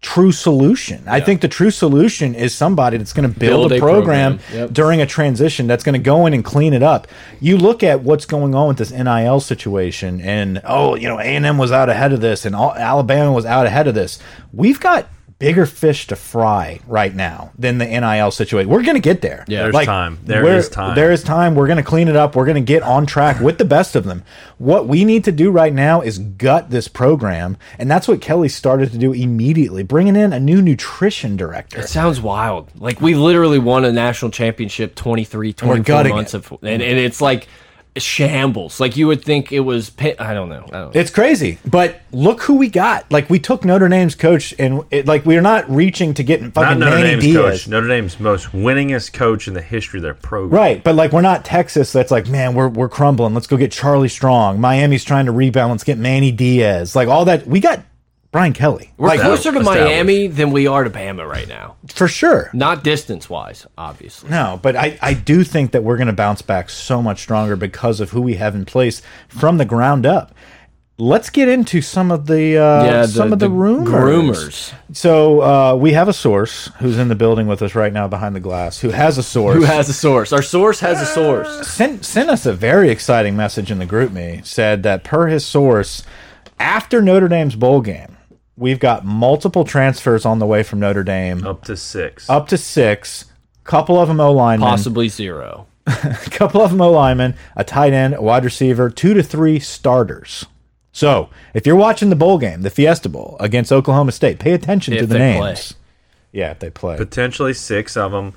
[SPEAKER 2] true solution. I think the true solution is somebody that's going to build,
[SPEAKER 1] Build
[SPEAKER 2] a
[SPEAKER 1] a
[SPEAKER 2] program,
[SPEAKER 1] program. Yep.
[SPEAKER 2] during a transition that's going to go in and clean it up. You look at what's going on with this NIL situation, and oh, you know, A and M was out ahead of this, and all, Alabama was out ahead of this. We've got bigger fish to fry right now than the NIL situation. We're going to get there.
[SPEAKER 1] Yeah.
[SPEAKER 3] There's time. There
[SPEAKER 2] we're-
[SPEAKER 3] is time.
[SPEAKER 2] There is time. We're going to clean it up. We're going to get on track with the best of them. What we need to do right now is gut this program, and that's what Kelly started to do immediately, bringing in a new nutrition director.
[SPEAKER 1] It sounds wild. Like we literally won a national championship 23,
[SPEAKER 2] we're
[SPEAKER 1] 24
[SPEAKER 2] gutting
[SPEAKER 1] months of, and, and it's like shambles. Like you would think it was. Pit, I don't know. I don't know.
[SPEAKER 2] It's crazy, but look who we got. Like we took Notre Dame's coach, and it, like we're not reaching to get
[SPEAKER 3] Not
[SPEAKER 2] fucking
[SPEAKER 3] Notre
[SPEAKER 2] Manny
[SPEAKER 3] Dame's
[SPEAKER 2] Diaz.
[SPEAKER 3] coach. Notre Dame's most winningest coach in the history of their program.
[SPEAKER 2] Right, but like we're not Texas. That's like, man, we're we're crumbling. Let's go get Charlie Strong. Miami's trying to rebound. Let's get Manny Diaz. Like all that, we got Brian Kelly.
[SPEAKER 1] We're
[SPEAKER 2] like
[SPEAKER 1] closer to
[SPEAKER 3] established.
[SPEAKER 1] Miami than we are to Bama right now.
[SPEAKER 2] for sure.
[SPEAKER 1] Not distance wise, obviously.
[SPEAKER 2] No, but I, I do think that we're going to bounce back so much stronger because of who we have in place from the ground up. Let's get into some of the uh,
[SPEAKER 1] Yeah, the-
[SPEAKER 2] some of the,
[SPEAKER 1] the
[SPEAKER 2] rumors.
[SPEAKER 1] groomers.
[SPEAKER 2] So uh, we have a source who's in the building with us right now behind the glass who has a source
[SPEAKER 1] Who has a source? Our source has a source.
[SPEAKER 2] sent sent us a very exciting message in the group me said that per his source after Notre Dame's bowl game we've got multiple transfers on the way from Notre Dame
[SPEAKER 1] Oh.
[SPEAKER 3] Up to six.
[SPEAKER 2] up to 6 couple of them O linemen
[SPEAKER 1] Possibly zero.
[SPEAKER 2] a couple of them O linemen a tight end a wide receiver two to three starters so if you're watching the bowl game the Fiesta Bowl against Oklahoma State pay attention to
[SPEAKER 1] If
[SPEAKER 2] the
[SPEAKER 1] they play.
[SPEAKER 2] names yeah if they play
[SPEAKER 3] potentially six of them.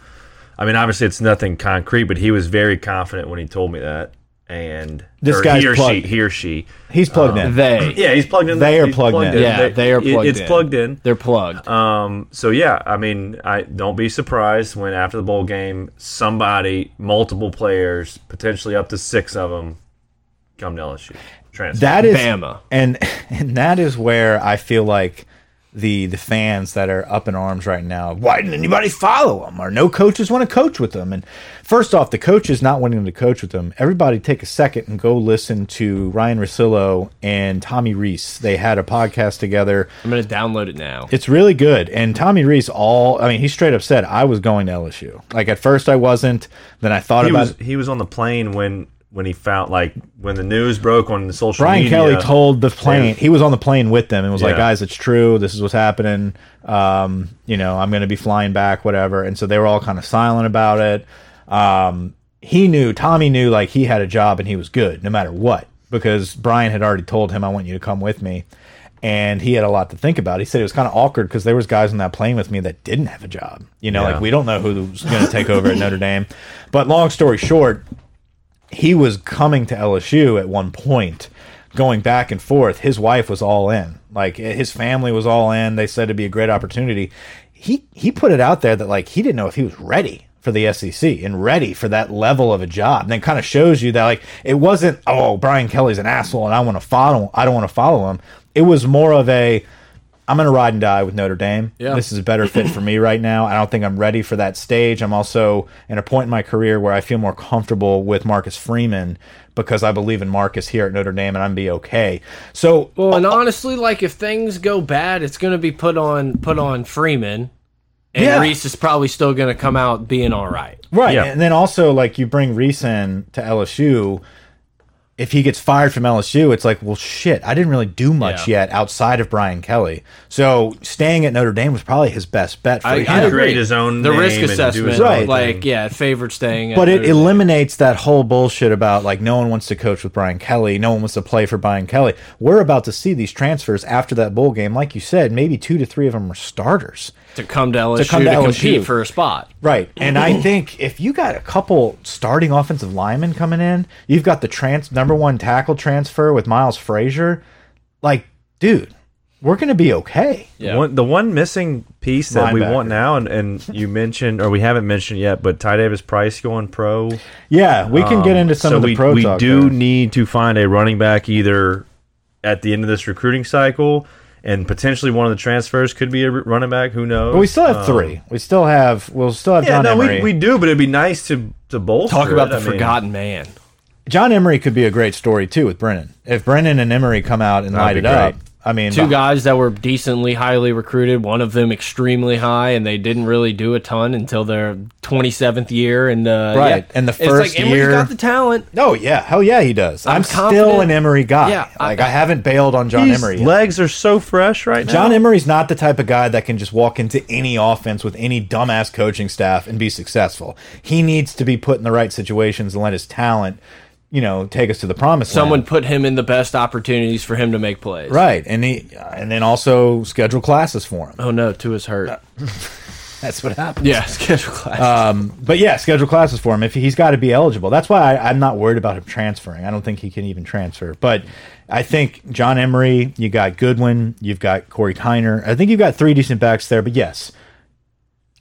[SPEAKER 3] I mean, obviously it's nothing concrete, but he was very confident when he told me that. And
[SPEAKER 2] This
[SPEAKER 3] or
[SPEAKER 2] guy's
[SPEAKER 3] he or
[SPEAKER 2] plugged.
[SPEAKER 3] she, he or she.
[SPEAKER 2] he's plugged in
[SPEAKER 1] They.
[SPEAKER 3] Yeah, he's plugged in.
[SPEAKER 2] They are
[SPEAKER 3] He's
[SPEAKER 2] plugged in.
[SPEAKER 1] Yeah, they are
[SPEAKER 3] it-
[SPEAKER 1] plugged
[SPEAKER 3] It's
[SPEAKER 1] in.
[SPEAKER 3] plugged in.
[SPEAKER 1] They're plugged.
[SPEAKER 3] Um, so yeah, I mean, I don't be surprised when after the bowl game, somebody, multiple players, potentially up to six of them, come to LSU. Transfer.
[SPEAKER 2] That is
[SPEAKER 1] Bama.
[SPEAKER 2] and and that is where I feel like the the fans that are up in arms right now. Why didn't anybody follow them? Or no coaches want to coach with them? And first off, the coaches not wanting to coach with them. Everybody take a second and go listen to Ryan Rosillo and Tommy Reese. They had a podcast together.
[SPEAKER 1] I'm going to download it now.
[SPEAKER 2] It's really good. And Tommy Reese, all I mean, he straight up said I was going to LSU. Like at first I wasn't. Then I thought
[SPEAKER 3] he
[SPEAKER 2] about.
[SPEAKER 3] was he was on the plane when when he found like when the news broke on the social
[SPEAKER 2] Brian
[SPEAKER 3] media.
[SPEAKER 2] Kelly told the plane he was on the plane with them and was like,
[SPEAKER 3] Yeah.
[SPEAKER 2] "Guys, it's true. This is what's happening. Um, you know, I'm going to be flying back, whatever." And so they were all kind of silent about it. Um, he knew Tommy knew like he had a job and he was good no matter what because Brian had already told him, "I want you to come with me." And he had a lot to think about. He said it was kind of awkward because there was guys on that plane with me that didn't have a job. You know, like we don't know who's going to take over at Notre Dame. But long story short, he was coming to LSU at one point, going back and forth. His wife was all in. Like eh, his family was all in. They said it'd be a great opportunity. He he put it out there that like he didn't know if he was ready for the SEC and ready for that level of a job. And then kind of shows you that like it wasn't, oh, Brian Kelly's an asshole and I want to follow I don't want to follow him. It was more of a I'm going to ride and die with Notre Dame.
[SPEAKER 1] Yeah.
[SPEAKER 2] This is a better fit for me right now. I don't think I'm ready for that stage. I'm also in a point in my career where I feel more comfortable with Marcus Freeman because I believe in Marcus here at Notre Dame and I'm be okay. So,
[SPEAKER 1] Well, and honestly, like if things go bad, it's going to be put on put on Freeman, and
[SPEAKER 2] Yeah.
[SPEAKER 1] Reese is probably still going to come out being all right.
[SPEAKER 2] right.
[SPEAKER 3] Yeah.
[SPEAKER 2] And then also, like, you bring Reese in to LSU. If he gets fired from LSU, it's like, well, shit, I didn't really do much
[SPEAKER 1] Yeah.
[SPEAKER 2] yet outside of Brian Kelly. So staying at Notre Dame was probably his best bet for him.
[SPEAKER 3] I agree. Create his own
[SPEAKER 1] the
[SPEAKER 3] name
[SPEAKER 1] risk
[SPEAKER 3] and do his
[SPEAKER 1] assessment,
[SPEAKER 2] own Right.
[SPEAKER 1] like
[SPEAKER 3] thing.
[SPEAKER 1] yeah, uh, it favored staying. at
[SPEAKER 2] But it
[SPEAKER 1] Notre Dame.
[SPEAKER 2] eliminates that whole bullshit about like no one wants to coach with Brian Kelly, no one wants to play for Brian Kelly. We're about to see these transfers after that bowl game, like you said, maybe two to three of them are starters.
[SPEAKER 1] to come to LSU to,
[SPEAKER 2] come to LSU.
[SPEAKER 1] compete for a spot.
[SPEAKER 2] Right. And I think if you got a couple starting offensive linemen coming in, you've got the trans number one tackle transfer with Miles Frazier, like, dude, we're gonna be okay.
[SPEAKER 1] Yeah.
[SPEAKER 3] One, the one missing piece that we
[SPEAKER 2] Linebacker.
[SPEAKER 3] want now, and, and you mentioned, or we haven't mentioned yet, but Ty Davis Price going pro.
[SPEAKER 2] Yeah, we can get into some
[SPEAKER 3] Um, so
[SPEAKER 2] of the
[SPEAKER 3] we,
[SPEAKER 2] pro
[SPEAKER 3] we
[SPEAKER 2] talk
[SPEAKER 3] do
[SPEAKER 2] there.
[SPEAKER 3] need to find a running back either at the end of this recruiting cycle, and potentially one of the transfers could be a r- running back. Who knows?
[SPEAKER 2] But we still have three. We still have we'll still have
[SPEAKER 3] yeah,
[SPEAKER 2] John
[SPEAKER 3] no,
[SPEAKER 2] Emery.
[SPEAKER 3] we, we do, but it'd be nice to to bolster.
[SPEAKER 1] Talk about
[SPEAKER 3] it.
[SPEAKER 1] the
[SPEAKER 3] I mean,
[SPEAKER 1] forgotten man.
[SPEAKER 2] John Emery could be a great story too with Brennan. If Brennan and Emery come out and light
[SPEAKER 3] That'd
[SPEAKER 2] it up,
[SPEAKER 3] be
[SPEAKER 2] I mean,
[SPEAKER 1] two
[SPEAKER 2] behi-
[SPEAKER 1] guys that were decently highly recruited, one of them extremely high, and they didn't really do a ton until their 27th year. And uh,
[SPEAKER 2] Right,
[SPEAKER 1] yeah.
[SPEAKER 2] and the
[SPEAKER 1] it's
[SPEAKER 2] first
[SPEAKER 1] like, Emory's
[SPEAKER 2] year-
[SPEAKER 1] got the talent.
[SPEAKER 2] No, yeah, hell yeah, he does. I'm,
[SPEAKER 1] I'm
[SPEAKER 2] still
[SPEAKER 1] confident-
[SPEAKER 2] an Emery guy.
[SPEAKER 1] Yeah, I-
[SPEAKER 2] like I, haven't bailed on John
[SPEAKER 3] His
[SPEAKER 2] Emery. yet.
[SPEAKER 3] legs are so fresh right now.
[SPEAKER 2] John Emery's not the type of guy that can just walk into any offense with any dumbass coaching staff and be successful. He needs to be put in the right situations and let his talent, you know, take us to the promised
[SPEAKER 1] Someone
[SPEAKER 2] land.
[SPEAKER 1] put him in the best opportunities for him to make plays.
[SPEAKER 2] Right, and he, and then also schedule classes for him.
[SPEAKER 1] Oh no, two is hurt.
[SPEAKER 2] Uh, That's what happened.
[SPEAKER 1] yeah, schedule class.
[SPEAKER 2] Uh, Um, But yeah, schedule classes for him if he's got to be eligible. That's why I, I'm not worried about him transferring. I don't think he can even transfer. But I think John Emery, you got Goodwin, you've got Corey Kiner. I think you've got three decent backs there. But yes,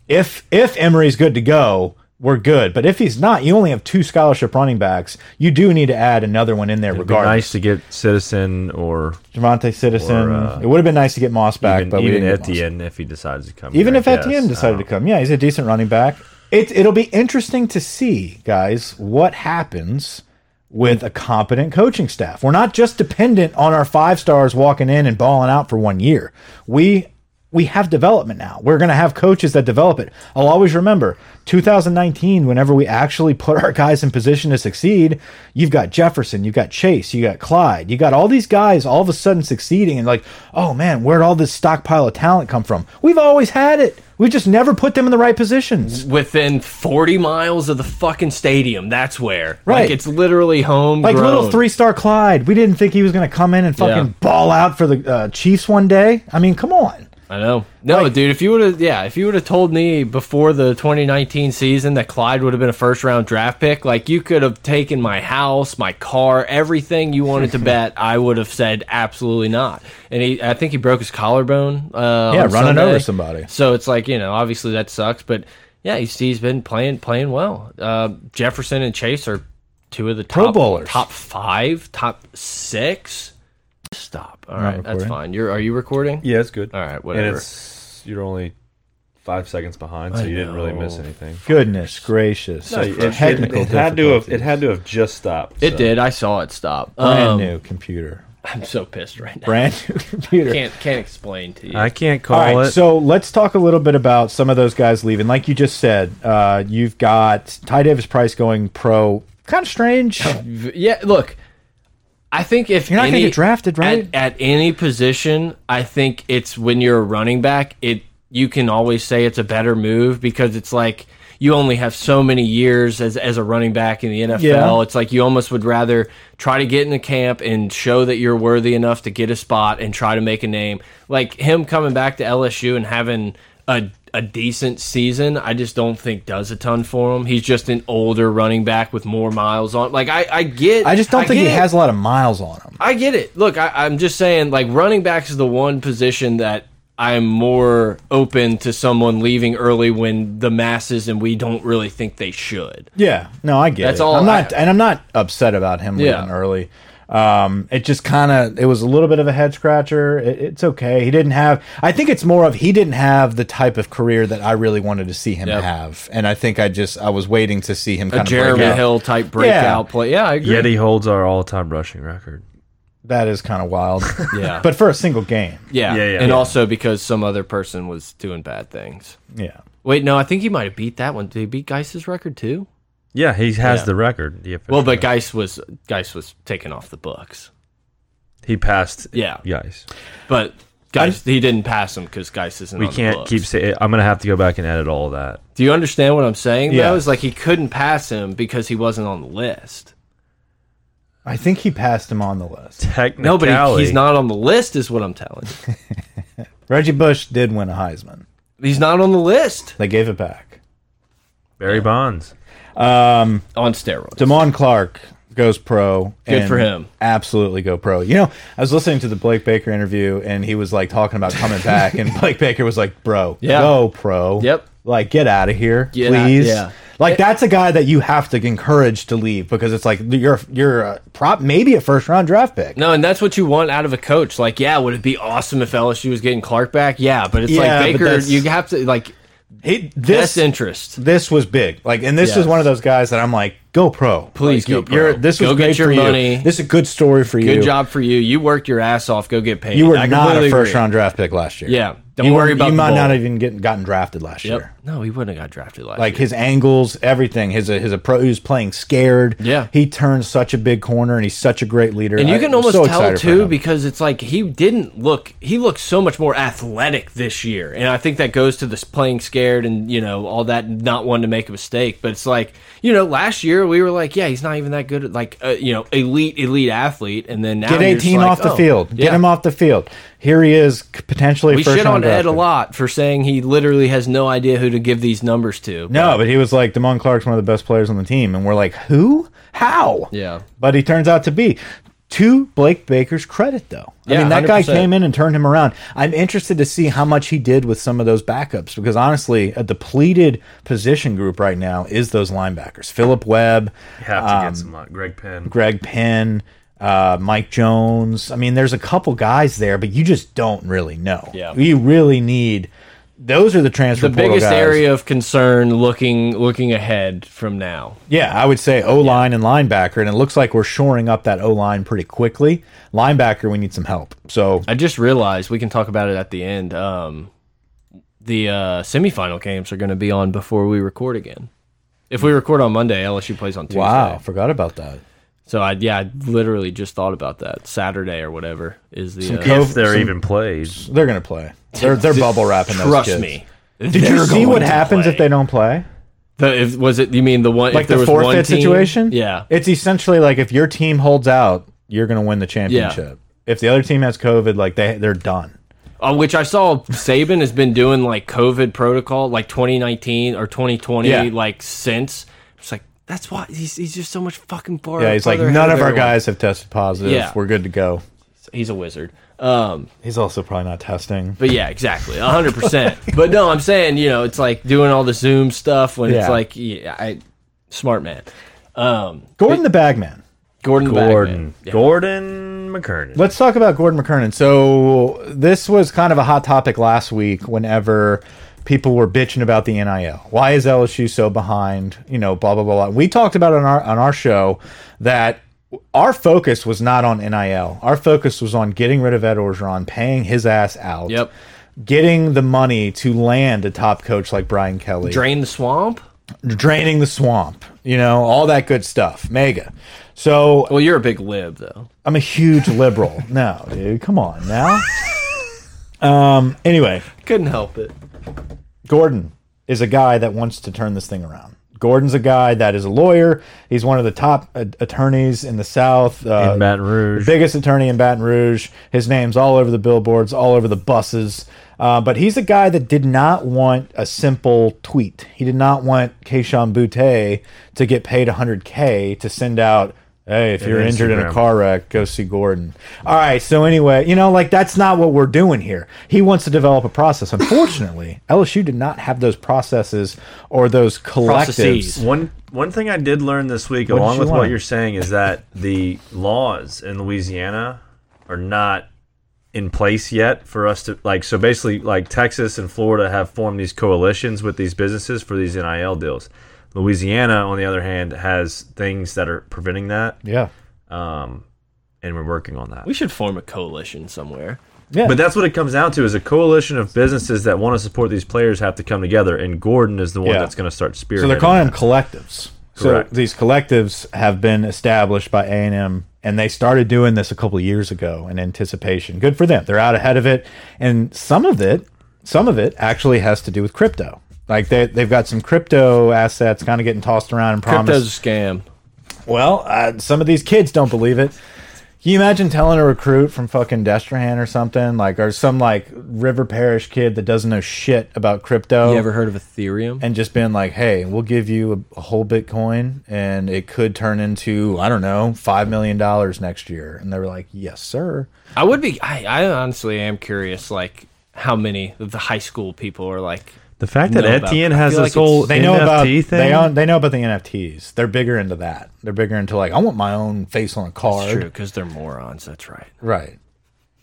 [SPEAKER 2] if if Emery's good to go, we're good. But if he's not, you only have two scholarship running backs. You do need to add another one in there,
[SPEAKER 3] It'd be
[SPEAKER 2] regardless.
[SPEAKER 3] nice to get Citizen or
[SPEAKER 2] Javante Citizen.
[SPEAKER 3] Or, uh,
[SPEAKER 2] it would have been nice to get Moss back,
[SPEAKER 3] even,
[SPEAKER 2] but we
[SPEAKER 3] even
[SPEAKER 2] didn't get Moss.
[SPEAKER 3] Etienne if he decides to come.
[SPEAKER 2] Even
[SPEAKER 3] here,
[SPEAKER 2] if
[SPEAKER 3] I guess. Oh.
[SPEAKER 2] Etienne
[SPEAKER 3] I
[SPEAKER 2] decided to
[SPEAKER 3] don't-
[SPEAKER 2] come, yeah, he's a decent running back. It, it'll be interesting to see, guys, what happens with a competent coaching staff. We're not just dependent on our five stars walking in and balling out for one year. We we have development now. We're going to have coaches that develop it. I'll always remember 2019 whenever we actually put our guys in position to succeed, you've got Jefferson, you've got Chase, you got Clyde, you got all these guys all of a sudden succeeding and like, "Oh man, where'd all this stockpile of talent come from?" We've always had it. We just never put them in the right positions.
[SPEAKER 1] Uh, Within 40 miles of the fucking stadium. That's where.
[SPEAKER 2] Right.
[SPEAKER 1] Like it's literally home.
[SPEAKER 2] Like little three star Clyde, we didn't think he was going to come in and fucking
[SPEAKER 1] Yeah.
[SPEAKER 2] ball out for the uh, Chiefs one day. I mean, come on.
[SPEAKER 1] I know. No, dude, if you would have yeah, if you would have told me before the 2019 season that Clyde would have been a first round draft pick, like you could have taken my house, my car, everything you wanted to bet, I would have said absolutely not. And he I think he broke his collarbone uh
[SPEAKER 2] Yeah,
[SPEAKER 1] on
[SPEAKER 2] running
[SPEAKER 1] Sunday.
[SPEAKER 2] over somebody.
[SPEAKER 1] So it's like, you know, obviously that sucks, but yeah, he's, he's been playing playing well. Uh, Jefferson and Chase are two of the top
[SPEAKER 2] Bowlers.
[SPEAKER 1] top 5, top 6. Stop. All right, that's
[SPEAKER 2] recording.
[SPEAKER 1] fine. You're are you recording?
[SPEAKER 3] Yeah, it's good.
[SPEAKER 1] All right, whatever.
[SPEAKER 3] And it's you're only five seconds behind, so you didn't really miss anything.
[SPEAKER 2] Goodness gracious.
[SPEAKER 3] No, it,
[SPEAKER 2] For
[SPEAKER 3] it,
[SPEAKER 2] technical
[SPEAKER 3] it had to have
[SPEAKER 2] difficulties.
[SPEAKER 3] it had to have just stopped.
[SPEAKER 1] It
[SPEAKER 3] so.
[SPEAKER 1] did. I saw it stop. Uh,
[SPEAKER 2] brand
[SPEAKER 1] Um,
[SPEAKER 2] new computer.
[SPEAKER 1] I'm so pissed right now.
[SPEAKER 2] Brand new computer.
[SPEAKER 1] Can't can't explain to you.
[SPEAKER 3] I can't call
[SPEAKER 2] All right,
[SPEAKER 3] it.
[SPEAKER 2] so let's talk a little bit about some of those guys leaving. Like you just said, uh, you've got Ty Davis Price going pro. Kind of strange.
[SPEAKER 1] V- yeah, look. I think if
[SPEAKER 2] You're not gonna
[SPEAKER 1] any-
[SPEAKER 2] get drafted, right?
[SPEAKER 1] At, at any position, I think it's when you're a running back, it you can always say it's a better move because it's like you only have so many years as as a running back in the NFL.
[SPEAKER 2] Yeah.
[SPEAKER 1] It's like you almost would rather try to get in the camp and show that you're worthy enough to get a spot and try to make a name. Like him coming back to LSU and having a a decent season, I just don't think does a ton for him. He's just an older running back with more miles on. Like I, I get,
[SPEAKER 2] I just don't think he
[SPEAKER 1] get it.
[SPEAKER 2] has a lot of miles on him.
[SPEAKER 1] I get it. Look, I, I'm just saying, like, running backs is the one position that I'm more open to someone leaving early when the masses and we don't really think they should.
[SPEAKER 2] Yeah, no, I get
[SPEAKER 1] That's
[SPEAKER 2] it.
[SPEAKER 1] all
[SPEAKER 2] I'm not,
[SPEAKER 1] I-
[SPEAKER 2] and I'm not upset about him leaving
[SPEAKER 1] Yeah.
[SPEAKER 2] early. Um, it just kind of it was a little bit of a head scratcher. It, it's okay. He didn't have. I think it's more of he didn't have the type of career that I really wanted to see him
[SPEAKER 1] Yep.
[SPEAKER 2] have. And I think I just I was waiting to see him kind
[SPEAKER 1] A
[SPEAKER 2] of
[SPEAKER 1] Jeremy
[SPEAKER 2] break out.
[SPEAKER 1] Hill type breakout play. Yeah, I agree.
[SPEAKER 3] Yet he holds our all-time rushing record.
[SPEAKER 2] That is kind of wild.
[SPEAKER 1] Yeah.
[SPEAKER 2] but for a single game.
[SPEAKER 1] yeah.
[SPEAKER 3] Yeah, yeah.
[SPEAKER 1] and
[SPEAKER 3] Yeah.
[SPEAKER 1] also because some other person was doing bad things.
[SPEAKER 2] Yeah.
[SPEAKER 1] Wait, no, I think he might have beat that one. Did he beat Geis's record too?
[SPEAKER 3] Yeah, he has
[SPEAKER 1] Yeah.
[SPEAKER 3] the record. The official
[SPEAKER 1] Well, but
[SPEAKER 3] record.
[SPEAKER 1] Geis was Geis was taken off the books,
[SPEAKER 3] he passed.
[SPEAKER 1] Yeah.
[SPEAKER 3] guys,
[SPEAKER 1] but Geis he didn't pass him because Geis isn't.
[SPEAKER 3] we
[SPEAKER 1] on the
[SPEAKER 3] can't
[SPEAKER 1] books.
[SPEAKER 3] keep saying. I'm gonna have to go back and edit all that.
[SPEAKER 1] Do you understand what I'm saying?
[SPEAKER 2] Yeah.
[SPEAKER 1] Though, is like he couldn't pass him because he wasn't on the list.
[SPEAKER 2] I think he passed him on the list.
[SPEAKER 1] No,
[SPEAKER 3] Technically,
[SPEAKER 1] but he- he's not on the list, is what I'm telling you.
[SPEAKER 2] Reggie Bush did win a Heisman.
[SPEAKER 1] He's not on the list
[SPEAKER 2] They gave it back. Um,
[SPEAKER 3] Barry Bonds.
[SPEAKER 1] on steroids.
[SPEAKER 2] Damon Clark goes pro.
[SPEAKER 1] Good
[SPEAKER 2] and
[SPEAKER 1] for him.
[SPEAKER 2] Absolutely go pro. You know, I was listening to the Blake Baker interview and he was like talking about coming back and Blake Baker was like, "Bro,
[SPEAKER 1] Yeah.
[SPEAKER 2] go pro."
[SPEAKER 1] Yep.
[SPEAKER 2] Like get out of here,
[SPEAKER 1] Get out-
[SPEAKER 2] please.
[SPEAKER 1] yeah.
[SPEAKER 2] Like that's a guy that you have to encourage to leave because it's like you're you're a prop maybe a first round draft pick.
[SPEAKER 1] no, and that's what you want out of a coach. Like, yeah, would it be awesome if LSU was getting Clark back? Yeah, but it's
[SPEAKER 2] Yeah, but
[SPEAKER 1] like Baker,
[SPEAKER 2] that's-
[SPEAKER 1] you have to like
[SPEAKER 2] He,
[SPEAKER 1] Best
[SPEAKER 2] this
[SPEAKER 1] interest.
[SPEAKER 2] this was big. Like, and this
[SPEAKER 1] Yes.
[SPEAKER 2] is one of those guys that I'm like, go pro,
[SPEAKER 1] Please
[SPEAKER 2] Like,
[SPEAKER 1] go
[SPEAKER 2] You're,
[SPEAKER 1] pro.
[SPEAKER 2] this was
[SPEAKER 1] Go get
[SPEAKER 2] great
[SPEAKER 1] your
[SPEAKER 2] for you.
[SPEAKER 1] money.
[SPEAKER 2] This is a good story for you.
[SPEAKER 1] Good job for you. You worked your ass off. Go get paid.
[SPEAKER 2] You were
[SPEAKER 1] I
[SPEAKER 2] not a
[SPEAKER 1] completely
[SPEAKER 2] first
[SPEAKER 1] agree.
[SPEAKER 2] round draft pick last year.
[SPEAKER 1] Yeah. Don't
[SPEAKER 2] you
[SPEAKER 1] worry
[SPEAKER 2] were-
[SPEAKER 1] about
[SPEAKER 2] You
[SPEAKER 1] the
[SPEAKER 2] might
[SPEAKER 1] bowl.
[SPEAKER 2] not have even get, gotten drafted last
[SPEAKER 1] Yep.
[SPEAKER 2] year.
[SPEAKER 1] No, he wouldn't have got drafted last
[SPEAKER 2] Like
[SPEAKER 1] year.
[SPEAKER 2] his angles, everything. His uh, his approach. He was playing scared.
[SPEAKER 1] Yeah.
[SPEAKER 2] He turned such a big corner, and he's such a great leader.
[SPEAKER 1] And
[SPEAKER 2] I-
[SPEAKER 1] you can
[SPEAKER 2] I'm
[SPEAKER 1] almost
[SPEAKER 2] so
[SPEAKER 1] tell
[SPEAKER 2] excited for
[SPEAKER 1] too
[SPEAKER 2] him.
[SPEAKER 1] because it's like he didn't look he looked so much more athletic this year. And I think that goes to this playing scared and you know all that not wanting to make a mistake, but it's like, you know, last year we were like, yeah, he's not even that good at like uh, you know, elite elite athlete and then now
[SPEAKER 2] Get
[SPEAKER 1] you're just
[SPEAKER 2] 18
[SPEAKER 1] like,
[SPEAKER 2] off the
[SPEAKER 1] oh,
[SPEAKER 2] field. Get
[SPEAKER 1] yeah.
[SPEAKER 2] him off the field. Here he is, c- potentially
[SPEAKER 1] We
[SPEAKER 2] first
[SPEAKER 1] shit on
[SPEAKER 2] round
[SPEAKER 1] Ed a
[SPEAKER 2] drafted.
[SPEAKER 1] lot for saying he literally has no idea who to give these numbers to.
[SPEAKER 2] No, but he was like Damon Clark's one of the best players on the team, and we're like, who? How?
[SPEAKER 1] Yeah.
[SPEAKER 2] But he turns out to be. To Blake Baker's credit, though, I
[SPEAKER 1] Yeah,
[SPEAKER 2] mean that guy
[SPEAKER 1] 100%.
[SPEAKER 2] came in and turned him around. I'm interested to see how much he did with some of those backups because honestly, a depleted position group right now is those linebackers: Philip Webb,
[SPEAKER 3] You have to
[SPEAKER 2] um,
[SPEAKER 3] get some uh, Greg Penn.
[SPEAKER 2] Greg Penn, uh, Mike Jones. I mean, there's a couple guys there, but you just don't really know.
[SPEAKER 1] Yeah.
[SPEAKER 2] you really need. Those are the transfer
[SPEAKER 1] The
[SPEAKER 2] portal
[SPEAKER 1] biggest
[SPEAKER 2] guys.
[SPEAKER 1] area of concern looking looking ahead from now.
[SPEAKER 2] Yeah, I would say O line and linebacker, and it looks like we're shoring up that O line pretty quickly. Linebacker, we need some help. So
[SPEAKER 1] I just realized we can talk about it at the end. Um, the uh, semifinal games are going to be on before we record again. If we record on Monday, LSU plays on Tuesday.
[SPEAKER 2] wow, forgot about that.
[SPEAKER 1] So I yeah, I literally just thought about that. Saturday or whatever is the. Uh,
[SPEAKER 2] Cove-
[SPEAKER 3] If they're
[SPEAKER 2] some-
[SPEAKER 3] even played,
[SPEAKER 2] they're gonna play. They're they're bubble wrapping. Those
[SPEAKER 1] trust
[SPEAKER 2] kids.
[SPEAKER 1] me.
[SPEAKER 2] Did you see what happens if they don't play?
[SPEAKER 1] The, if, was it you mean the one
[SPEAKER 2] Like
[SPEAKER 1] if there
[SPEAKER 2] the
[SPEAKER 1] was one
[SPEAKER 2] forfeit
[SPEAKER 1] team-
[SPEAKER 2] situation.
[SPEAKER 1] Yeah,
[SPEAKER 2] it's essentially like if your team holds out, you're gonna win the championship. If the other team has COVID, like they they're done.
[SPEAKER 1] on Uh, which I saw Saban has been doing like COVID protocol, like 2019 or 2020,
[SPEAKER 2] Yeah.
[SPEAKER 1] like since. It's like that's why he's, he's just so much fucking far.
[SPEAKER 2] Yeah, he's like
[SPEAKER 1] farther
[SPEAKER 2] none
[SPEAKER 1] ahead
[SPEAKER 2] of our
[SPEAKER 1] everyone."
[SPEAKER 2] guys have tested positive.
[SPEAKER 1] Yeah.
[SPEAKER 2] We're good to go.
[SPEAKER 1] He's a wizard. Um,
[SPEAKER 2] He's also probably not testing.
[SPEAKER 1] but yeah, exactly, hundred percent. But no, I'm saying you know it's like doing all the Zoom stuff when it's
[SPEAKER 2] Yeah.
[SPEAKER 1] like yeah, I smart man, um,
[SPEAKER 2] Gordon the Bagman.
[SPEAKER 1] Gordon the Bagman.
[SPEAKER 3] Gordon, Gordon McKernan.
[SPEAKER 2] Let's talk about Gordon McKernan. So this was kind of a hot topic last week whenever people were bitching about the NIL. Why is LSU so behind? You know, blah blah blah. blah. We talked about on our on our show that our focus was not on NIL. Our focus was on getting rid of Ed Orgeron, paying his ass out.
[SPEAKER 1] Yep,
[SPEAKER 2] Getting the money to land a top coach like Brian Kelly
[SPEAKER 1] drain the swamp.
[SPEAKER 2] draining the swamp, you know, all that good stuff. Mega. So
[SPEAKER 1] Well, you're a big lib though.
[SPEAKER 2] I'm a huge liberal. No, dude, come on now. Um. Anyway,
[SPEAKER 1] Couldn't help it.
[SPEAKER 2] Gordon is a guy that wants to turn this thing around. Gordon's a guy that is a lawyer. He's one of the top uh, attorneys in the South. Uh,
[SPEAKER 3] In Baton Rouge.
[SPEAKER 2] the biggest attorney in Baton Rouge. His name's all over the billboards, all over the buses. Uh, but he's a guy that did not want a simple tweet. He did not want Keishon Butte to get paid 100K to send out, hey, if you're injured in a
[SPEAKER 3] Instagram.
[SPEAKER 2] car wreck, go see Gordon. All right. So, anyway, you know, like that's not what we're doing here. He wants to develop a process. Unfortunately, LSU did not have those processes or those
[SPEAKER 1] Processes.
[SPEAKER 2] collectives.
[SPEAKER 3] One one thing I did learn this week,
[SPEAKER 2] did
[SPEAKER 3] along
[SPEAKER 2] you
[SPEAKER 3] with
[SPEAKER 2] learn?
[SPEAKER 3] what you're saying, is that the laws in Louisiana are not in place yet for us to like. So basically, like Texas and Florida have formed these coalitions with these businesses for these NIL deals. Louisiana, on the other hand, has things that are preventing that,
[SPEAKER 2] Yeah.
[SPEAKER 3] um, and we're working on that.
[SPEAKER 1] We should form a coalition somewhere.
[SPEAKER 2] Yeah.
[SPEAKER 3] But that's what it comes down to: is a coalition of businesses that want to support these players have to come together, and Gordon is the one
[SPEAKER 2] Yeah.
[SPEAKER 3] that's going to start spearheading.
[SPEAKER 2] So they're calling them collectives.
[SPEAKER 3] Correct.
[SPEAKER 2] So these collectives have been established by A and M, and they started doing this a couple of years ago in anticipation. Good for them; they're out ahead of it. And some of it, some of it actually has to do with crypto. Like they they've got some crypto assets kind of getting tossed around and promised.
[SPEAKER 1] Crypto's a scam.
[SPEAKER 2] Well, uh, some of these kids don't believe it. Can you imagine telling a recruit from fucking Destrehan or something like, or some like River Parish kid that doesn't know shit about crypto?
[SPEAKER 1] You ever heard of Ethereum?
[SPEAKER 2] Oh. and just been like, "Hey, we'll give you a, a whole Bitcoin, and it could turn into I don't know five million dollars next year." And they were like, "Yes, sir."
[SPEAKER 1] I would be. I, I honestly am curious, like how many of the high school people are like.
[SPEAKER 3] The fact
[SPEAKER 1] know
[SPEAKER 3] that
[SPEAKER 1] about.
[SPEAKER 3] Etienne
[SPEAKER 1] I
[SPEAKER 3] has
[SPEAKER 1] feel
[SPEAKER 3] this
[SPEAKER 1] like it's-
[SPEAKER 3] whole
[SPEAKER 2] They know
[SPEAKER 3] NFT
[SPEAKER 2] about
[SPEAKER 3] thing.
[SPEAKER 2] they own, they know about the NFTs. They're bigger into that. They're bigger into like, I want my own face on a card,
[SPEAKER 1] True, because they're morons. That's right.
[SPEAKER 2] right?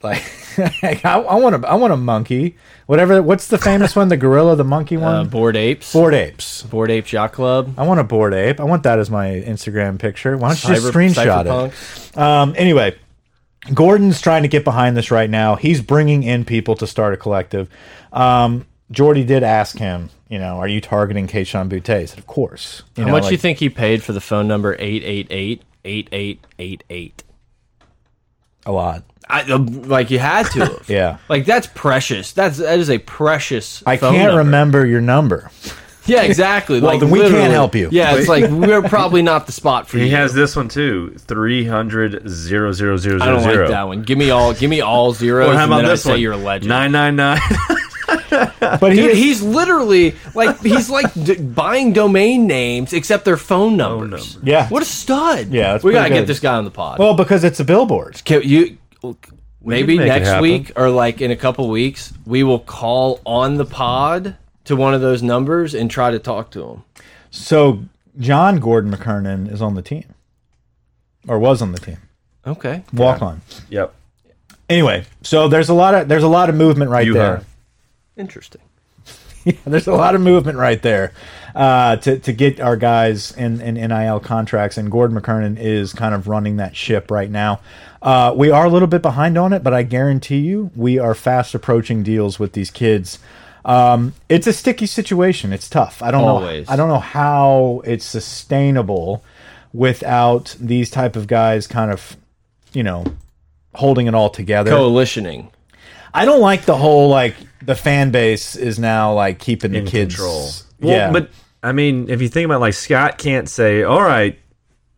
[SPEAKER 2] Like, I, I want a I want a monkey. Whatever. What's the famous one? The gorilla, the monkey
[SPEAKER 1] Uh,
[SPEAKER 2] one.
[SPEAKER 1] bored apes.
[SPEAKER 2] board apes.
[SPEAKER 1] Bored Ape Yacht Club.
[SPEAKER 2] I want a board ape. I want that as my Instagram picture. Why don't you just
[SPEAKER 1] Cyber-
[SPEAKER 2] screenshot it?
[SPEAKER 1] Cyberpunks.
[SPEAKER 2] Um, anyway, Gordon's trying to get behind this right now. He's bringing in people to start a collective. Um, Jordy did ask him, you know, are you targeting Keishan Butte? He said, of course.
[SPEAKER 1] How
[SPEAKER 2] know,
[SPEAKER 1] much
[SPEAKER 2] like-
[SPEAKER 1] you think he paid for the phone number 888-8888?
[SPEAKER 2] A lot.
[SPEAKER 1] I, uh, like you had to. have.
[SPEAKER 2] Yeah.
[SPEAKER 1] Like that's precious. That's that is a precious.
[SPEAKER 2] I
[SPEAKER 1] phone
[SPEAKER 2] can't
[SPEAKER 1] number.
[SPEAKER 2] remember your number.
[SPEAKER 1] Yeah, exactly.
[SPEAKER 2] Well,
[SPEAKER 1] like
[SPEAKER 2] then we can't
[SPEAKER 1] literally.
[SPEAKER 2] help you.
[SPEAKER 1] Yeah, it's like we're probably not the spot for
[SPEAKER 3] He
[SPEAKER 1] you.
[SPEAKER 3] has this one too. Three hundred zero zero zero
[SPEAKER 1] I
[SPEAKER 3] zero
[SPEAKER 1] don't
[SPEAKER 3] zero.
[SPEAKER 1] like that one. Give me all. Give me all zeros.
[SPEAKER 3] Or how about
[SPEAKER 1] and then
[SPEAKER 3] this
[SPEAKER 1] I say
[SPEAKER 3] one?
[SPEAKER 1] you're a legend.
[SPEAKER 3] Nine nine nine.
[SPEAKER 2] But he,
[SPEAKER 1] Dude, he's literally like he's like d buying domain names except their phone numbers.
[SPEAKER 3] numbers.
[SPEAKER 2] Yeah.
[SPEAKER 1] what a stud!
[SPEAKER 2] Yeah, that's
[SPEAKER 1] we gotta
[SPEAKER 2] pretty
[SPEAKER 1] get
[SPEAKER 2] good.
[SPEAKER 1] this guy on the pod.
[SPEAKER 2] well, because it's a billboard.
[SPEAKER 1] Can you maybe
[SPEAKER 3] make it
[SPEAKER 1] next
[SPEAKER 3] happen.
[SPEAKER 1] week or like in a couple weeks we will call on the pod to one of those numbers and try to talk to him.
[SPEAKER 2] So John Gordon McKernan is on the team, or was on the team.
[SPEAKER 1] Okay,
[SPEAKER 2] Walk on.
[SPEAKER 3] Yep.
[SPEAKER 2] Anyway, so there's a lot of there's a lot of movement right
[SPEAKER 3] You
[SPEAKER 2] there.
[SPEAKER 3] heard.
[SPEAKER 1] interesting.
[SPEAKER 2] There's a lot of movement right there uh, to to get our guys in, in NIL contracts, and Gordon McKernan is kind of running that ship right now. Uh, we are a little bit behind on it, but I guarantee you, we are fast approaching deals with these kids. Um, it's a sticky situation. It's tough. I don't
[SPEAKER 1] Always.
[SPEAKER 2] know. I don't know how it's sustainable without these type of guys kind of, you know, holding it all together.
[SPEAKER 1] Coalitioning.
[SPEAKER 2] I don't like the whole like the fan base is now like keeping the
[SPEAKER 3] in
[SPEAKER 2] kids
[SPEAKER 3] control. Well,
[SPEAKER 2] Yeah,
[SPEAKER 3] but I mean, if you think about it, like Scott can't say, "All right,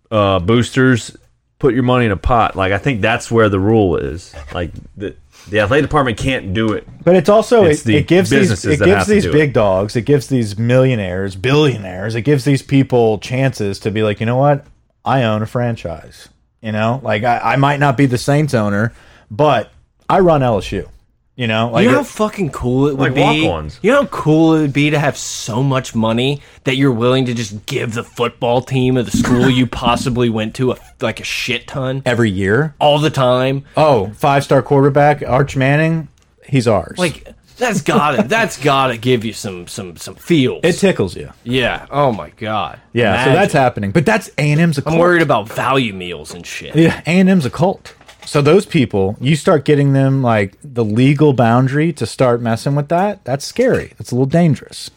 [SPEAKER 3] uh, boosters, put your money in a pot." Like I think that's where the rule is. Like the the athletic department can't do it.
[SPEAKER 2] but it's also
[SPEAKER 3] It's
[SPEAKER 2] it,
[SPEAKER 3] the
[SPEAKER 2] it gives these
[SPEAKER 3] businesses
[SPEAKER 2] it
[SPEAKER 3] that
[SPEAKER 2] gives
[SPEAKER 3] have to
[SPEAKER 2] these
[SPEAKER 3] do
[SPEAKER 2] big dogs, it gives these millionaires, billionaires, it gives these people chances to be like, you know what, I own a franchise. You know, like I, I might not be the Saints owner, but I run LSU. You know, like
[SPEAKER 1] You know
[SPEAKER 2] it-
[SPEAKER 1] how fucking cool it would
[SPEAKER 3] Like
[SPEAKER 1] be.
[SPEAKER 3] walk-ons.
[SPEAKER 1] You know how cool it would be to have so much money that you're willing to just give the football team of the school you possibly went to a, like a shit ton
[SPEAKER 2] every year.
[SPEAKER 1] all the time.
[SPEAKER 2] Oh, five star quarterback Arch Manning, he's ours.
[SPEAKER 1] Like that's got to that's got to give you some some some feels.
[SPEAKER 2] it tickles you.
[SPEAKER 1] yeah. Oh my god.
[SPEAKER 2] Yeah,
[SPEAKER 1] Imagine.
[SPEAKER 2] so that's happening. But that's A and M's a
[SPEAKER 1] I'm
[SPEAKER 2] cult.
[SPEAKER 1] worried about value meals and shit.
[SPEAKER 2] Yeah, A and M's a cult. So those people, you start getting them like the legal boundary to start messing with that. That's scary. It's a little dangerous.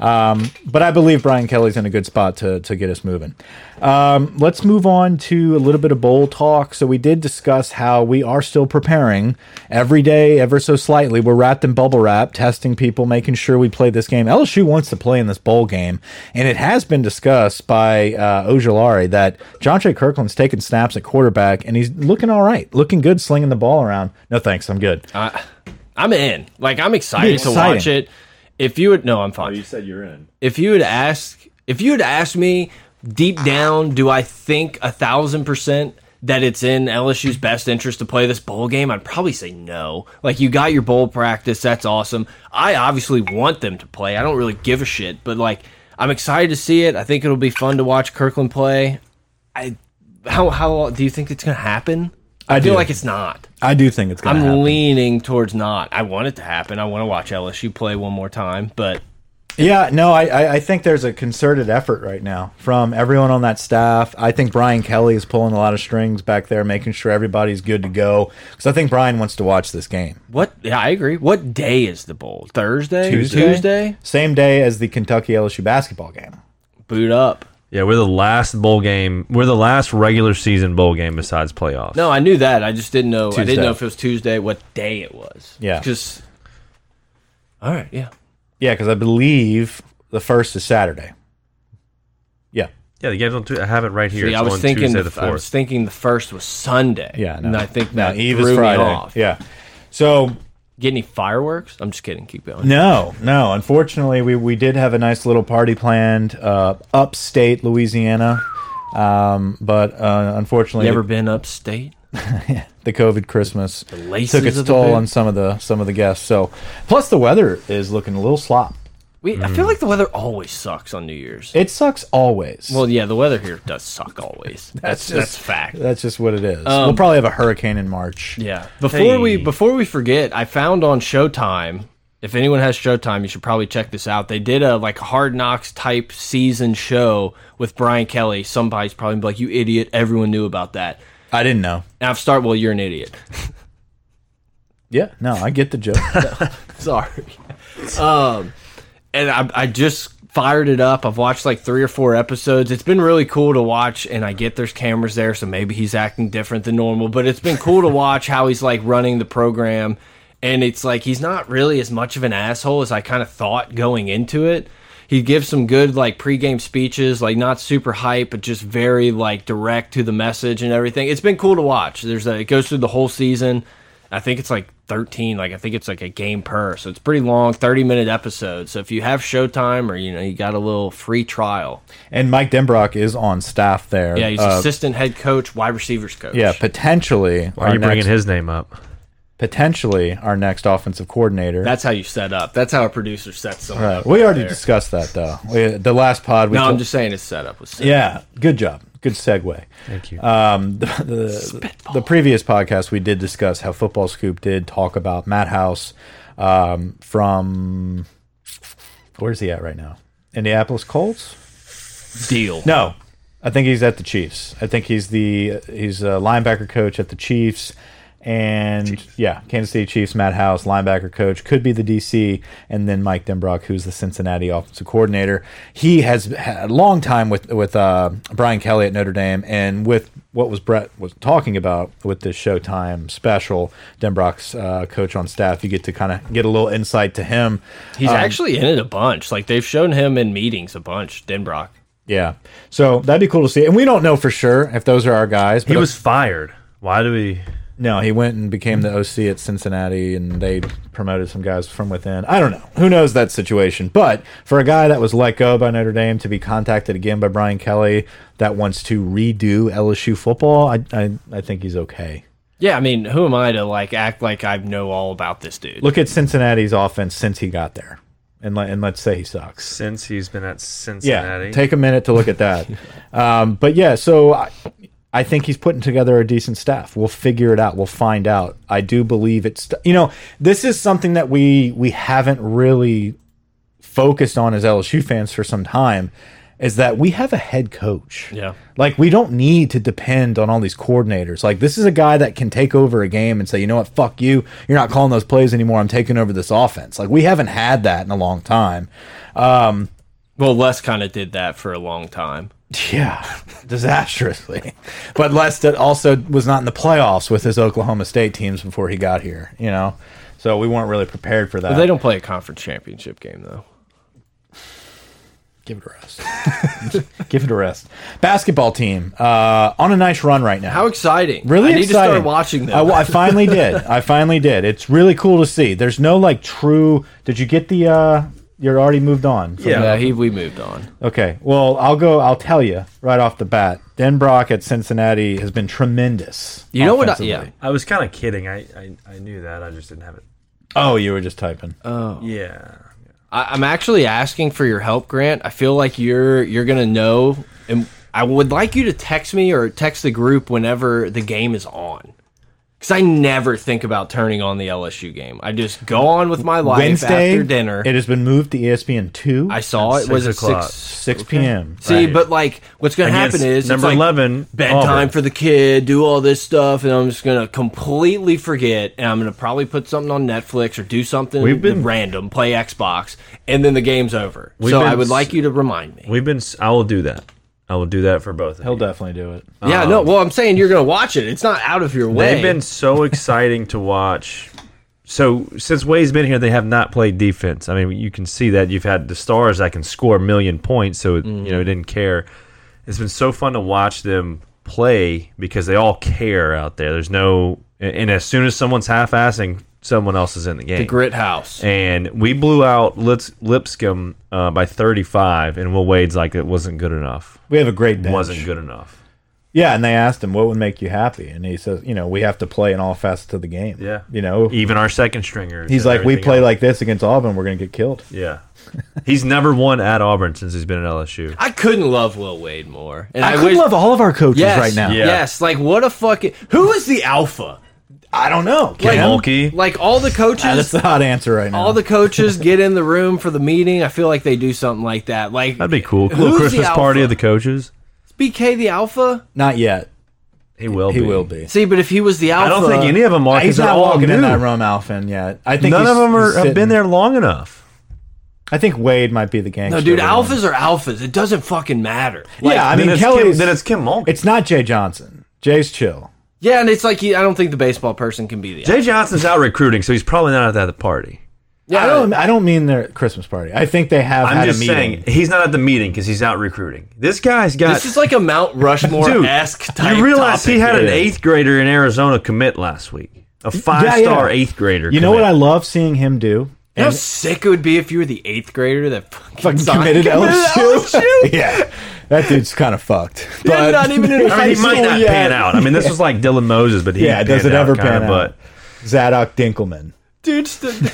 [SPEAKER 2] Um, but I believe Brian Kelly's in a good spot to to get us moving. Um, let's move on to a little bit of bowl talk. So we did discuss how we are still preparing every day, ever so slightly. We're wrapped in bubble wrap, testing people, making sure we play this game. LSU wants to play in this bowl game, and it has been discussed by uh, Ojolari that John Jay Kirkland's taking snaps at quarterback, and he's looking all right, looking good, slinging the ball around. No thanks, I'm good.
[SPEAKER 1] I'm in. Like I'm excited to
[SPEAKER 2] exciting.
[SPEAKER 1] watch it. If you would no, I'm fine.
[SPEAKER 3] said you're in.
[SPEAKER 1] if you had asked if you had asked me deep down do i think a thousand percent that it's in lsu's best interest to play this bowl game i'd probably say no like you got your bowl practice that's awesome i obviously want them to play i don't really give a shit but like i'm excited to see it i think it'll be fun to watch kirkland play i how how do you think it's gonna happen i,
[SPEAKER 2] I
[SPEAKER 1] feel
[SPEAKER 2] do.
[SPEAKER 1] like it's not
[SPEAKER 2] I do think it's going
[SPEAKER 1] i'm
[SPEAKER 2] to happen.
[SPEAKER 1] leaning towards not i want it to happen i want to watch lsu play one more time but
[SPEAKER 2] Yeah, no, I, I, I think there's a concerted effort right now from everyone on that staff. I think Brian Kelly is pulling a lot of strings back there, making sure everybody's good to go. Because I think Brian wants to watch this game.
[SPEAKER 1] What? Yeah, I agree. What day is the bowl? Thursday, Tuesday.
[SPEAKER 2] Same day as the Kentucky LSU basketball game.
[SPEAKER 1] Boot up.
[SPEAKER 3] Yeah, we're the last bowl game. We're the last regular season bowl game besides playoffs.
[SPEAKER 1] No, I knew that. I just didn't know. I
[SPEAKER 2] Tuesday.
[SPEAKER 1] didn't know if it was Tuesday. What day it was?
[SPEAKER 2] Yeah.
[SPEAKER 1] Just. All right. Yeah.
[SPEAKER 2] Yeah, because I believe the first is Saturday. Yeah.
[SPEAKER 3] Yeah, the game's on. Tu- I have it right here.
[SPEAKER 1] See,
[SPEAKER 3] it's
[SPEAKER 1] I was
[SPEAKER 3] on
[SPEAKER 1] thinking.
[SPEAKER 3] Tuesday
[SPEAKER 1] The,
[SPEAKER 3] the
[SPEAKER 1] I
[SPEAKER 3] fourth.
[SPEAKER 1] was thinking the first was Sunday.
[SPEAKER 2] Yeah, no.
[SPEAKER 1] And I think
[SPEAKER 2] No,
[SPEAKER 1] that
[SPEAKER 2] Eve
[SPEAKER 1] threw
[SPEAKER 2] is Friday.
[SPEAKER 1] me off.
[SPEAKER 2] Yeah. So
[SPEAKER 1] Get any fireworks? I'm just kidding. Keep going.
[SPEAKER 2] No, no. Unfortunately, we, we did have a nice little party planned uh, upstate Louisiana. Um, but uh, unfortunately,
[SPEAKER 1] You ever been upstate?
[SPEAKER 2] the COVID Christmas
[SPEAKER 1] laces
[SPEAKER 2] took its
[SPEAKER 1] of the
[SPEAKER 2] toll
[SPEAKER 1] boot.
[SPEAKER 2] on some of the some of the guests. So, plus the weather is looking a little slop.
[SPEAKER 1] We I feel like the weather always sucks on New Year's.
[SPEAKER 2] It sucks always.
[SPEAKER 1] Well, yeah, the weather here does suck always. that's that's fact.
[SPEAKER 2] That's just what it is. we'll probably have a hurricane in March.
[SPEAKER 1] um, Yeah. Before we
[SPEAKER 3] Hey.
[SPEAKER 1] before we forget, I found on Showtime. If anyone has Showtime, you should probably check this out. They did a like Hard Knocks type season show with Brian Kelly. Somebody's probably like, "You idiot! Everyone knew about that."
[SPEAKER 2] I didn't know.
[SPEAKER 1] And I've started. Well, you're an idiot.
[SPEAKER 2] Yeah, no, I get the joke.
[SPEAKER 1] Sorry. Um, and I, I just fired it up. I've watched like three or four episodes. It's been really cool to watch, and I get there's cameras there, so maybe he's acting different than normal. But it's been cool to watch how he's like running the program, and it's like he's not really as much of an asshole as I kind of thought going into it. He gives some good like pregame speeches, like not super hype, but just very like direct to the message and everything. It's been cool to watch. There's a, it goes through the whole season. I think it's like 13. Like I think it's like a game per. So it's pretty long, 30 minute episode. So if you have Showtime or you know you got a little free trial,
[SPEAKER 2] and Mike Denbrock is on staff there.
[SPEAKER 1] yeah, he's
[SPEAKER 2] Uh,
[SPEAKER 1] assistant head coach, wide receivers coach.
[SPEAKER 2] yeah, potentially.
[SPEAKER 3] Why are you bringing
[SPEAKER 2] next,
[SPEAKER 3] his name up?
[SPEAKER 2] Potentially our next offensive coordinator.
[SPEAKER 1] that's how you set up. That's how a producer sets someone
[SPEAKER 2] Right.
[SPEAKER 1] up.
[SPEAKER 2] We already discussed that though. We, the last pod. We
[SPEAKER 1] No, I'm
[SPEAKER 2] told-
[SPEAKER 1] just saying his setup was. Set.
[SPEAKER 2] yeah. Good job. Good segue.
[SPEAKER 3] Thank you.
[SPEAKER 2] Um, the, the, the previous podcast we did discuss how Football Scoop did talk about Matt House um, from where's he at right now? Indianapolis Colts.
[SPEAKER 1] Deal.
[SPEAKER 2] No, I think he's at the Chiefs. I think he's the he's a linebacker coach at the Chiefs. And yeah, Kansas City Chiefs, Matt House, linebacker coach, could be the DC, and then Mike Denbrock, who's the Cincinnati offensive coordinator. He has had a long time with with uh, Brian Kelly at Notre Dame, and with what was Brett was talking about with this Showtime special, Denbrock's uh, coach on staff. You get to kind of get a little insight to him. Um,
[SPEAKER 1] He's actually in it a bunch. Like they've shown him in meetings a bunch. Denbrock.
[SPEAKER 2] Yeah, so that'd be cool to see. And we don't know for sure if those are our guys. But
[SPEAKER 3] He was fired. Why do we?
[SPEAKER 2] No, he went and became the OC at Cincinnati, and they promoted some guys from within. I don't know. Who knows that situation? But for a guy that was let go by Notre Dame to be contacted again by Brian Kelly that wants to redo LSU football, I, I, I think he's okay.
[SPEAKER 1] Yeah, I mean, who am I to like act like I know all about this dude?
[SPEAKER 2] Look at Cincinnati's offense since he got there, and, let, and let's say he sucks.
[SPEAKER 3] Since he's been at
[SPEAKER 2] yeah,
[SPEAKER 3] Cincinnati,
[SPEAKER 2] take a minute to look at that. um, but yeah, so I, I think he's putting together a decent staff. We'll figure it out. We'll find out. I do believe it's you know this is something that we we haven't really focused on as LSU fans for some time is that we have a head coach.
[SPEAKER 1] Yeah.
[SPEAKER 2] Like we don't need to depend on all these coordinators. Like this is a guy that can take over a game and say, "You know what? Fuck you. You're not calling those plays anymore. I'm taking over this offense." Like we haven't had that in a long time.
[SPEAKER 1] Well, Les kind of did that for a long time.
[SPEAKER 2] Yeah, disastrously. But Les that also was not in the playoffs with his Oklahoma State teams before he got here, you know? So we weren't really prepared for that.
[SPEAKER 1] But they don't play a conference championship game though.
[SPEAKER 2] give it a rest. give it a rest. Basketball team uh, on a nice run right now.
[SPEAKER 1] How exciting!
[SPEAKER 2] really
[SPEAKER 1] I need
[SPEAKER 2] exciting.
[SPEAKER 1] to start watching them.
[SPEAKER 2] I, I finally did. I finally did. It's really cool to see. There's no like true. Did you get the? uh You're already moved on. from
[SPEAKER 3] Yeah.
[SPEAKER 1] yeah, he we moved on.
[SPEAKER 2] Okay. Well, I'll go. I'll tell you right off the bat. Den Brock at Cincinnati has been tremendous.
[SPEAKER 1] You know what I-
[SPEAKER 2] offensively.
[SPEAKER 3] I was kind of kidding. I, I I knew that. I just didn't have it.
[SPEAKER 2] Oh, you were just typing.
[SPEAKER 3] Uh,
[SPEAKER 1] Oh.
[SPEAKER 3] Yeah.
[SPEAKER 1] I, I'm actually asking for your help, Grant. I feel like you're you're gonna know, and I would like you to text me or text the group whenever the game is on, because I never think about turning on the LSU game. I just go on with my life
[SPEAKER 2] Wednesday
[SPEAKER 1] after dinner.
[SPEAKER 2] It has been moved to E ESPN two.
[SPEAKER 1] I saw it
[SPEAKER 3] Six
[SPEAKER 1] was at
[SPEAKER 3] o'clock.
[SPEAKER 1] six.
[SPEAKER 2] six p.m.
[SPEAKER 1] See,
[SPEAKER 3] Right.
[SPEAKER 1] but like, what's gonna
[SPEAKER 3] Against
[SPEAKER 1] happen is it's
[SPEAKER 3] number
[SPEAKER 1] like
[SPEAKER 3] 11,
[SPEAKER 1] bedtime
[SPEAKER 3] Auburn.
[SPEAKER 1] for the kid, do all this stuff, and I'm just gonna completely forget, and I'm gonna probably put something on Netflix or do something
[SPEAKER 3] We've been-
[SPEAKER 1] random, play Xbox, and then the game's over.
[SPEAKER 3] We've
[SPEAKER 1] So
[SPEAKER 3] been
[SPEAKER 1] I would
[SPEAKER 3] s-
[SPEAKER 1] like you to remind me.
[SPEAKER 3] We've been. s- I will do that. I will do that for both. Of
[SPEAKER 2] He'll
[SPEAKER 3] you.
[SPEAKER 2] definitely do it.
[SPEAKER 1] yeah, no, well, I'm saying you're gonna watch it. It's not out of your way.
[SPEAKER 3] They've been so exciting to watch. So since Wade's been here, they have not played defense. I mean, you can see that you've had the stars that can score a million points, so it, you know
[SPEAKER 2] Mm-hmm.
[SPEAKER 3] it didn't care. It's been so fun to watch them play because they all care out there. There's no, and and as soon as someone's half-assing, someone else is in the game.
[SPEAKER 1] the grit house.
[SPEAKER 3] and we blew out Lips Lipscomb uh, by 35, and Will Wade's like it wasn't good enough.
[SPEAKER 2] We have a great bench.
[SPEAKER 3] Wasn't good enough.
[SPEAKER 2] Yeah, and they asked him what would make you happy, and he says, you know, we have to play in all facets of the game.
[SPEAKER 3] Yeah.
[SPEAKER 2] you know,
[SPEAKER 3] Even our second stringers.
[SPEAKER 2] he's
[SPEAKER 3] and
[SPEAKER 2] like, we
[SPEAKER 3] everything
[SPEAKER 2] play
[SPEAKER 3] else.
[SPEAKER 2] like this against Auburn, we're gonna get killed.
[SPEAKER 3] Yeah. He's never won at Auburn since he's been at LSU.
[SPEAKER 1] I couldn't love Will Wade more. And
[SPEAKER 2] I, could love all of our coaches
[SPEAKER 1] yes,
[SPEAKER 2] right now.
[SPEAKER 3] Yeah.
[SPEAKER 1] Yes, like what a fucking who is the alpha?
[SPEAKER 2] I don't know.
[SPEAKER 1] Like,
[SPEAKER 2] Cam?
[SPEAKER 3] Mulkey.
[SPEAKER 1] Like all the
[SPEAKER 2] Ah, that's
[SPEAKER 1] coaches
[SPEAKER 2] the hot answer right now.
[SPEAKER 1] all the coaches get in the room for the meeting. I feel like they do something like that. Like
[SPEAKER 3] That'd be cool.
[SPEAKER 1] Who's
[SPEAKER 3] Cool
[SPEAKER 1] the
[SPEAKER 3] Christmas party
[SPEAKER 1] alpha?
[SPEAKER 3] of the coaches.
[SPEAKER 1] BK the alpha?
[SPEAKER 2] Not yet.
[SPEAKER 3] He will
[SPEAKER 2] He
[SPEAKER 3] be.
[SPEAKER 2] will be.
[SPEAKER 1] See, but if he was the alpha
[SPEAKER 3] I don't think any of them are. 'cause
[SPEAKER 2] He's
[SPEAKER 3] they're
[SPEAKER 2] not
[SPEAKER 3] all
[SPEAKER 2] walking in
[SPEAKER 3] new.
[SPEAKER 2] that room, Alphen, yet. I think
[SPEAKER 3] None
[SPEAKER 2] he's-
[SPEAKER 3] of them
[SPEAKER 2] he's
[SPEAKER 3] are, have
[SPEAKER 2] sitting-
[SPEAKER 3] been there long enough.
[SPEAKER 2] I think Wade might be the gangster.
[SPEAKER 1] No, dude,
[SPEAKER 2] one.
[SPEAKER 1] alphas are alphas. It doesn't fucking matter. Like,
[SPEAKER 2] yeah, I
[SPEAKER 3] Then
[SPEAKER 2] mean,
[SPEAKER 3] it's
[SPEAKER 2] Kelly's.
[SPEAKER 3] Kim, then it's Kim Mulkey.
[SPEAKER 2] It's not Jay Johnson. Jay's chill.
[SPEAKER 1] yeah, and it's like he, I don't think the baseball person can be the.
[SPEAKER 3] Jay Johnson's out recruiting, so he's probably not at that party.
[SPEAKER 1] Yeah,
[SPEAKER 2] I don't. I don't mean their Christmas party. I think they have
[SPEAKER 3] I'm
[SPEAKER 2] had
[SPEAKER 3] just
[SPEAKER 2] a meeting.
[SPEAKER 3] saying he's not at the meeting because he's out recruiting. This guy's got.
[SPEAKER 1] This is like a Mount Rushmore esque type.
[SPEAKER 3] you realize
[SPEAKER 1] topic.
[SPEAKER 3] he had an
[SPEAKER 2] yeah.
[SPEAKER 3] eighth grader in Arizona commit last week, a five-star eighth grader.
[SPEAKER 2] You know what I
[SPEAKER 3] commit.
[SPEAKER 2] love seeing him do?
[SPEAKER 1] You know how sick it would be if you were the eighth grader that fucking,
[SPEAKER 2] Fucking
[SPEAKER 1] signed-
[SPEAKER 2] committed to LSU.
[SPEAKER 1] LSU?
[SPEAKER 2] yeah, that dude's kind of fucked. But
[SPEAKER 1] not even in
[SPEAKER 3] I mean, he might not
[SPEAKER 2] Yeah.
[SPEAKER 3] pan out. I mean, this was like Dylan Moses, but he
[SPEAKER 2] Yeah,
[SPEAKER 3] panned
[SPEAKER 2] does it
[SPEAKER 3] out
[SPEAKER 2] ever
[SPEAKER 3] kinda,
[SPEAKER 2] pan out?
[SPEAKER 3] But
[SPEAKER 2] Zadok Dinkelman.
[SPEAKER 1] dude. st-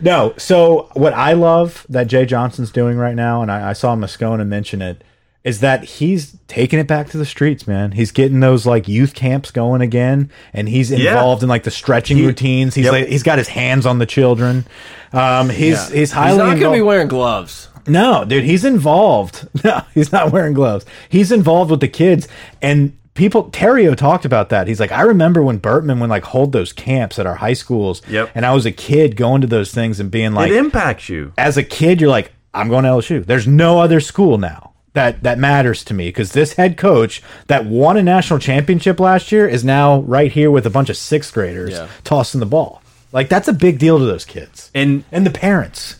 [SPEAKER 2] No, so what I love that Jay Johnson's doing right now, and I, I saw Moscona mention it, is that he's taking it back to the streets, man. He's getting those like youth camps going again, and he's involved in like the stretching routines. He's
[SPEAKER 3] Yep.
[SPEAKER 2] like, he's got his hands on the children. Um, he's he's highly
[SPEAKER 1] He's not going to be
[SPEAKER 2] involved-
[SPEAKER 1] wearing gloves.
[SPEAKER 2] No, dude, he's involved. No, he's not wearing gloves. He's involved with the kids and people Terrio talked about that. He's like, I remember when Burtman would like hold those camps at our high schools.
[SPEAKER 3] Yep.
[SPEAKER 2] And I was a kid going to those things and being like
[SPEAKER 3] it impacts you.
[SPEAKER 2] as a kid, you're like, I'm going to LSU. There's no other school now that that matters to me because this head coach that won a national championship last year is now right here with a bunch of sixth graders
[SPEAKER 1] Yeah.
[SPEAKER 2] tossing the ball. Like that's a big deal to those kids
[SPEAKER 3] And
[SPEAKER 2] and the parents.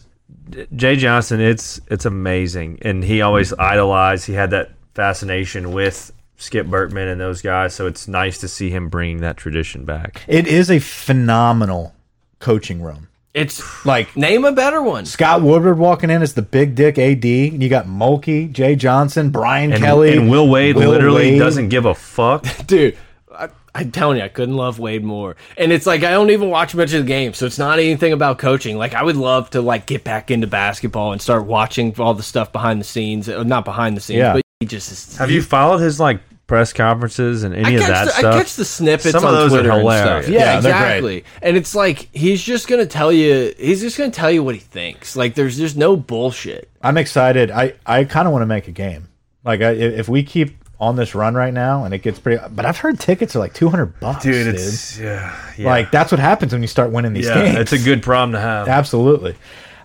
[SPEAKER 3] Jay Johnson, it's it's amazing, and he always idolized. He had that fascination with Skip Burtman and those guys, so it's nice to see him bringing that tradition back.
[SPEAKER 2] It is a phenomenal coaching room.
[SPEAKER 1] It's
[SPEAKER 2] Like
[SPEAKER 1] name a better one.
[SPEAKER 2] Scott Woodward walking in as the big dick AD, and you got Mulkey, Jay Johnson, Brian
[SPEAKER 3] And,
[SPEAKER 2] Kelly,
[SPEAKER 3] and Will Wade
[SPEAKER 2] Will
[SPEAKER 3] literally
[SPEAKER 2] Wade.
[SPEAKER 3] doesn't give a fuck.
[SPEAKER 1] dude. I, I'm telling you, I couldn't love Wade more. And it's like I don't even watch much of the game, so it's not anything about coaching. Like I would love to like get back into basketball and start watching all the stuff behind the scenes, uh, not behind the scenes,
[SPEAKER 2] Yeah.
[SPEAKER 1] but he just is,
[SPEAKER 3] Have you followed his like press conferences and
[SPEAKER 1] I
[SPEAKER 3] any
[SPEAKER 1] catch,
[SPEAKER 3] of that
[SPEAKER 1] the,
[SPEAKER 3] stuff?
[SPEAKER 1] I catch the snippets
[SPEAKER 3] Some of
[SPEAKER 1] on
[SPEAKER 3] those are
[SPEAKER 1] Twitter and
[SPEAKER 3] hilarious.
[SPEAKER 1] stuff. Yeah,
[SPEAKER 2] Yeah, they're great.
[SPEAKER 1] exactly. And it's like he's just gonna tell you. He's just gonna tell you what he thinks. Like there's there's no bullshit.
[SPEAKER 2] I'm excited. I, I kind of want to make a game. Like I, i- if we keep on this run right now and it gets pretty, but I've heard tickets are like 200 bucks, dude.
[SPEAKER 3] yeah,
[SPEAKER 2] like that's what happens when you start winning these games.
[SPEAKER 3] it's a good problem to have.
[SPEAKER 2] Absolutely.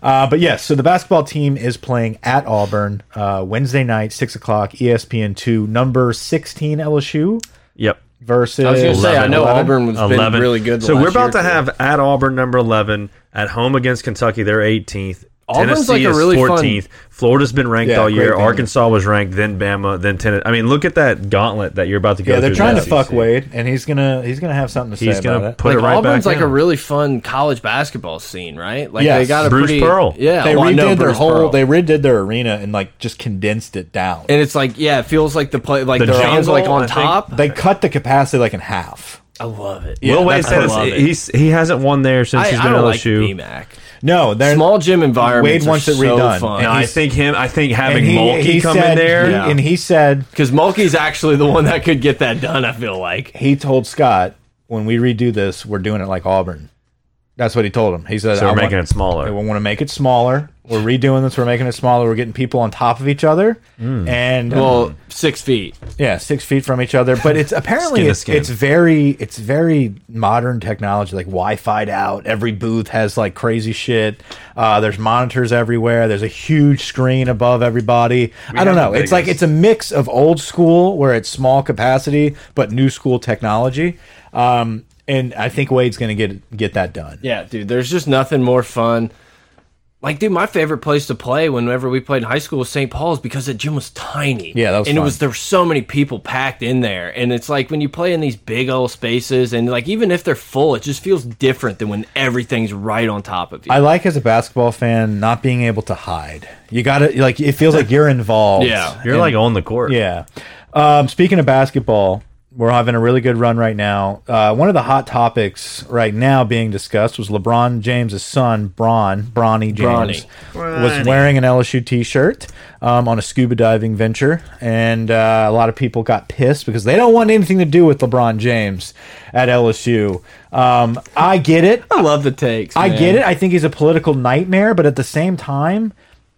[SPEAKER 2] Uh, but yes, so the basketball team is playing at Auburn uh, Wednesday night, six o'clock, E ESPN two, number sixteen LSU
[SPEAKER 3] Yep.
[SPEAKER 2] versus.
[SPEAKER 1] I was gonna say I know
[SPEAKER 2] 11.
[SPEAKER 1] Auburn was been really good. the
[SPEAKER 3] So
[SPEAKER 1] last
[SPEAKER 3] we're about
[SPEAKER 1] year
[SPEAKER 3] to
[SPEAKER 1] too.
[SPEAKER 3] have at Auburn number eleven at home against Kentucky. They're 18th.
[SPEAKER 1] Auburn's
[SPEAKER 3] Tennessee
[SPEAKER 1] like a
[SPEAKER 3] is
[SPEAKER 1] really fun-
[SPEAKER 3] 14th. Florida's been ranked
[SPEAKER 2] Yeah,
[SPEAKER 3] all year.
[SPEAKER 2] great venue.
[SPEAKER 3] Arkansas was ranked, then Bama, then Tennessee. I mean, look at that gauntlet that you're about to go
[SPEAKER 2] Yeah, they're
[SPEAKER 3] through
[SPEAKER 2] trying
[SPEAKER 3] the
[SPEAKER 2] to fuck
[SPEAKER 3] SEC.
[SPEAKER 2] Wade, and he's gonna he's gonna have something to
[SPEAKER 3] He's
[SPEAKER 2] say
[SPEAKER 3] gonna
[SPEAKER 2] about it.
[SPEAKER 3] put
[SPEAKER 1] like
[SPEAKER 3] it right
[SPEAKER 1] Auburn's
[SPEAKER 3] back
[SPEAKER 1] like
[SPEAKER 3] in.
[SPEAKER 1] a really fun college basketball scene, right? Like
[SPEAKER 2] Yes.
[SPEAKER 1] they got a
[SPEAKER 3] Bruce
[SPEAKER 1] pretty,
[SPEAKER 3] Pearl.
[SPEAKER 1] Yeah,
[SPEAKER 2] they
[SPEAKER 1] well, I
[SPEAKER 2] redid
[SPEAKER 1] know
[SPEAKER 2] their
[SPEAKER 1] Bruce
[SPEAKER 2] whole
[SPEAKER 1] Pearl.
[SPEAKER 2] they redid their arena and like just condensed it down.
[SPEAKER 1] and it's like yeah, it feels like the play like
[SPEAKER 3] The
[SPEAKER 1] the their hands
[SPEAKER 3] jungle,
[SPEAKER 1] like
[SPEAKER 3] I
[SPEAKER 1] on
[SPEAKER 3] think.
[SPEAKER 1] top.
[SPEAKER 2] they cut the capacity like in half.
[SPEAKER 1] I love it.
[SPEAKER 3] Will Wade
[SPEAKER 1] that's- I
[SPEAKER 3] says
[SPEAKER 1] love it.
[SPEAKER 3] he's he hasn't won there since
[SPEAKER 1] I,
[SPEAKER 3] he's
[SPEAKER 1] I
[SPEAKER 3] been
[SPEAKER 1] don't
[SPEAKER 3] at
[SPEAKER 1] like
[SPEAKER 3] LSU.
[SPEAKER 1] BMAC.
[SPEAKER 2] No, they're
[SPEAKER 1] Small gym environments
[SPEAKER 2] Wade wants
[SPEAKER 1] are
[SPEAKER 2] it
[SPEAKER 1] so
[SPEAKER 2] redone,
[SPEAKER 1] fun.
[SPEAKER 2] and
[SPEAKER 3] I
[SPEAKER 2] he's-
[SPEAKER 3] think him. I think having
[SPEAKER 2] and he-
[SPEAKER 3] Mulkey
[SPEAKER 2] he
[SPEAKER 3] come in
[SPEAKER 2] said-
[SPEAKER 3] there.
[SPEAKER 2] he-
[SPEAKER 1] Yeah.
[SPEAKER 2] and he said
[SPEAKER 1] Because Mulkey's actually the one that could get that done. I feel like
[SPEAKER 2] he told Scott when we redo this, we're doing it like Auburn. That's what he told him. He said,
[SPEAKER 3] So we're
[SPEAKER 2] "I
[SPEAKER 3] making
[SPEAKER 2] want-
[SPEAKER 3] it smaller.
[SPEAKER 2] We want to make it smaller. We're redoing this. We're making it smaller. We're getting people on top of each other,
[SPEAKER 3] Mm.
[SPEAKER 2] and
[SPEAKER 3] Hmm.
[SPEAKER 1] well, six feet.
[SPEAKER 2] yeah, six feet from each other. But it's apparently
[SPEAKER 3] Skin to
[SPEAKER 2] it's,
[SPEAKER 3] skin.
[SPEAKER 2] it's very it's very modern technology, like Wi-Fi'd out. Every booth has like crazy shit. Uh, there's monitors everywhere. There's a huge screen above everybody. I don't
[SPEAKER 3] have
[SPEAKER 2] know.
[SPEAKER 3] the
[SPEAKER 2] It's like
[SPEAKER 3] biggest.
[SPEAKER 2] it's a mix of old school where it's small capacity but new school technology. Um, and I think Wade's going to get get that done.
[SPEAKER 1] Yeah, dude. There's just nothing more fun. Like, dude, my favorite place to play whenever we played in high school was St. Paul's because that gym was tiny.
[SPEAKER 2] Yeah, that was
[SPEAKER 1] and it
[SPEAKER 2] fun.
[SPEAKER 1] was there were so many people packed in there, and it's like when you play in these big old spaces, and like even if they're full, it just feels different than when everything's right on top of you.
[SPEAKER 2] I like as a basketball fan not being able to hide. You got to like it feels like you're involved.
[SPEAKER 1] Yeah.
[SPEAKER 3] You're
[SPEAKER 2] And-
[SPEAKER 3] like on the court.
[SPEAKER 2] Yeah. Um, speaking of basketball, we're having a really good run right now. Uh, one of the hot topics right now being discussed was LeBron James's son, Bron, Bronny James, was wearing an LSU T-shirt um, on a scuba diving venture, and uh, a lot of people got pissed because they don't want anything to do with LeBron James at LSU. Um, I get it.
[SPEAKER 1] I love the takes.
[SPEAKER 2] I
[SPEAKER 1] man.
[SPEAKER 2] get it. I think he's a political nightmare, but at the same time,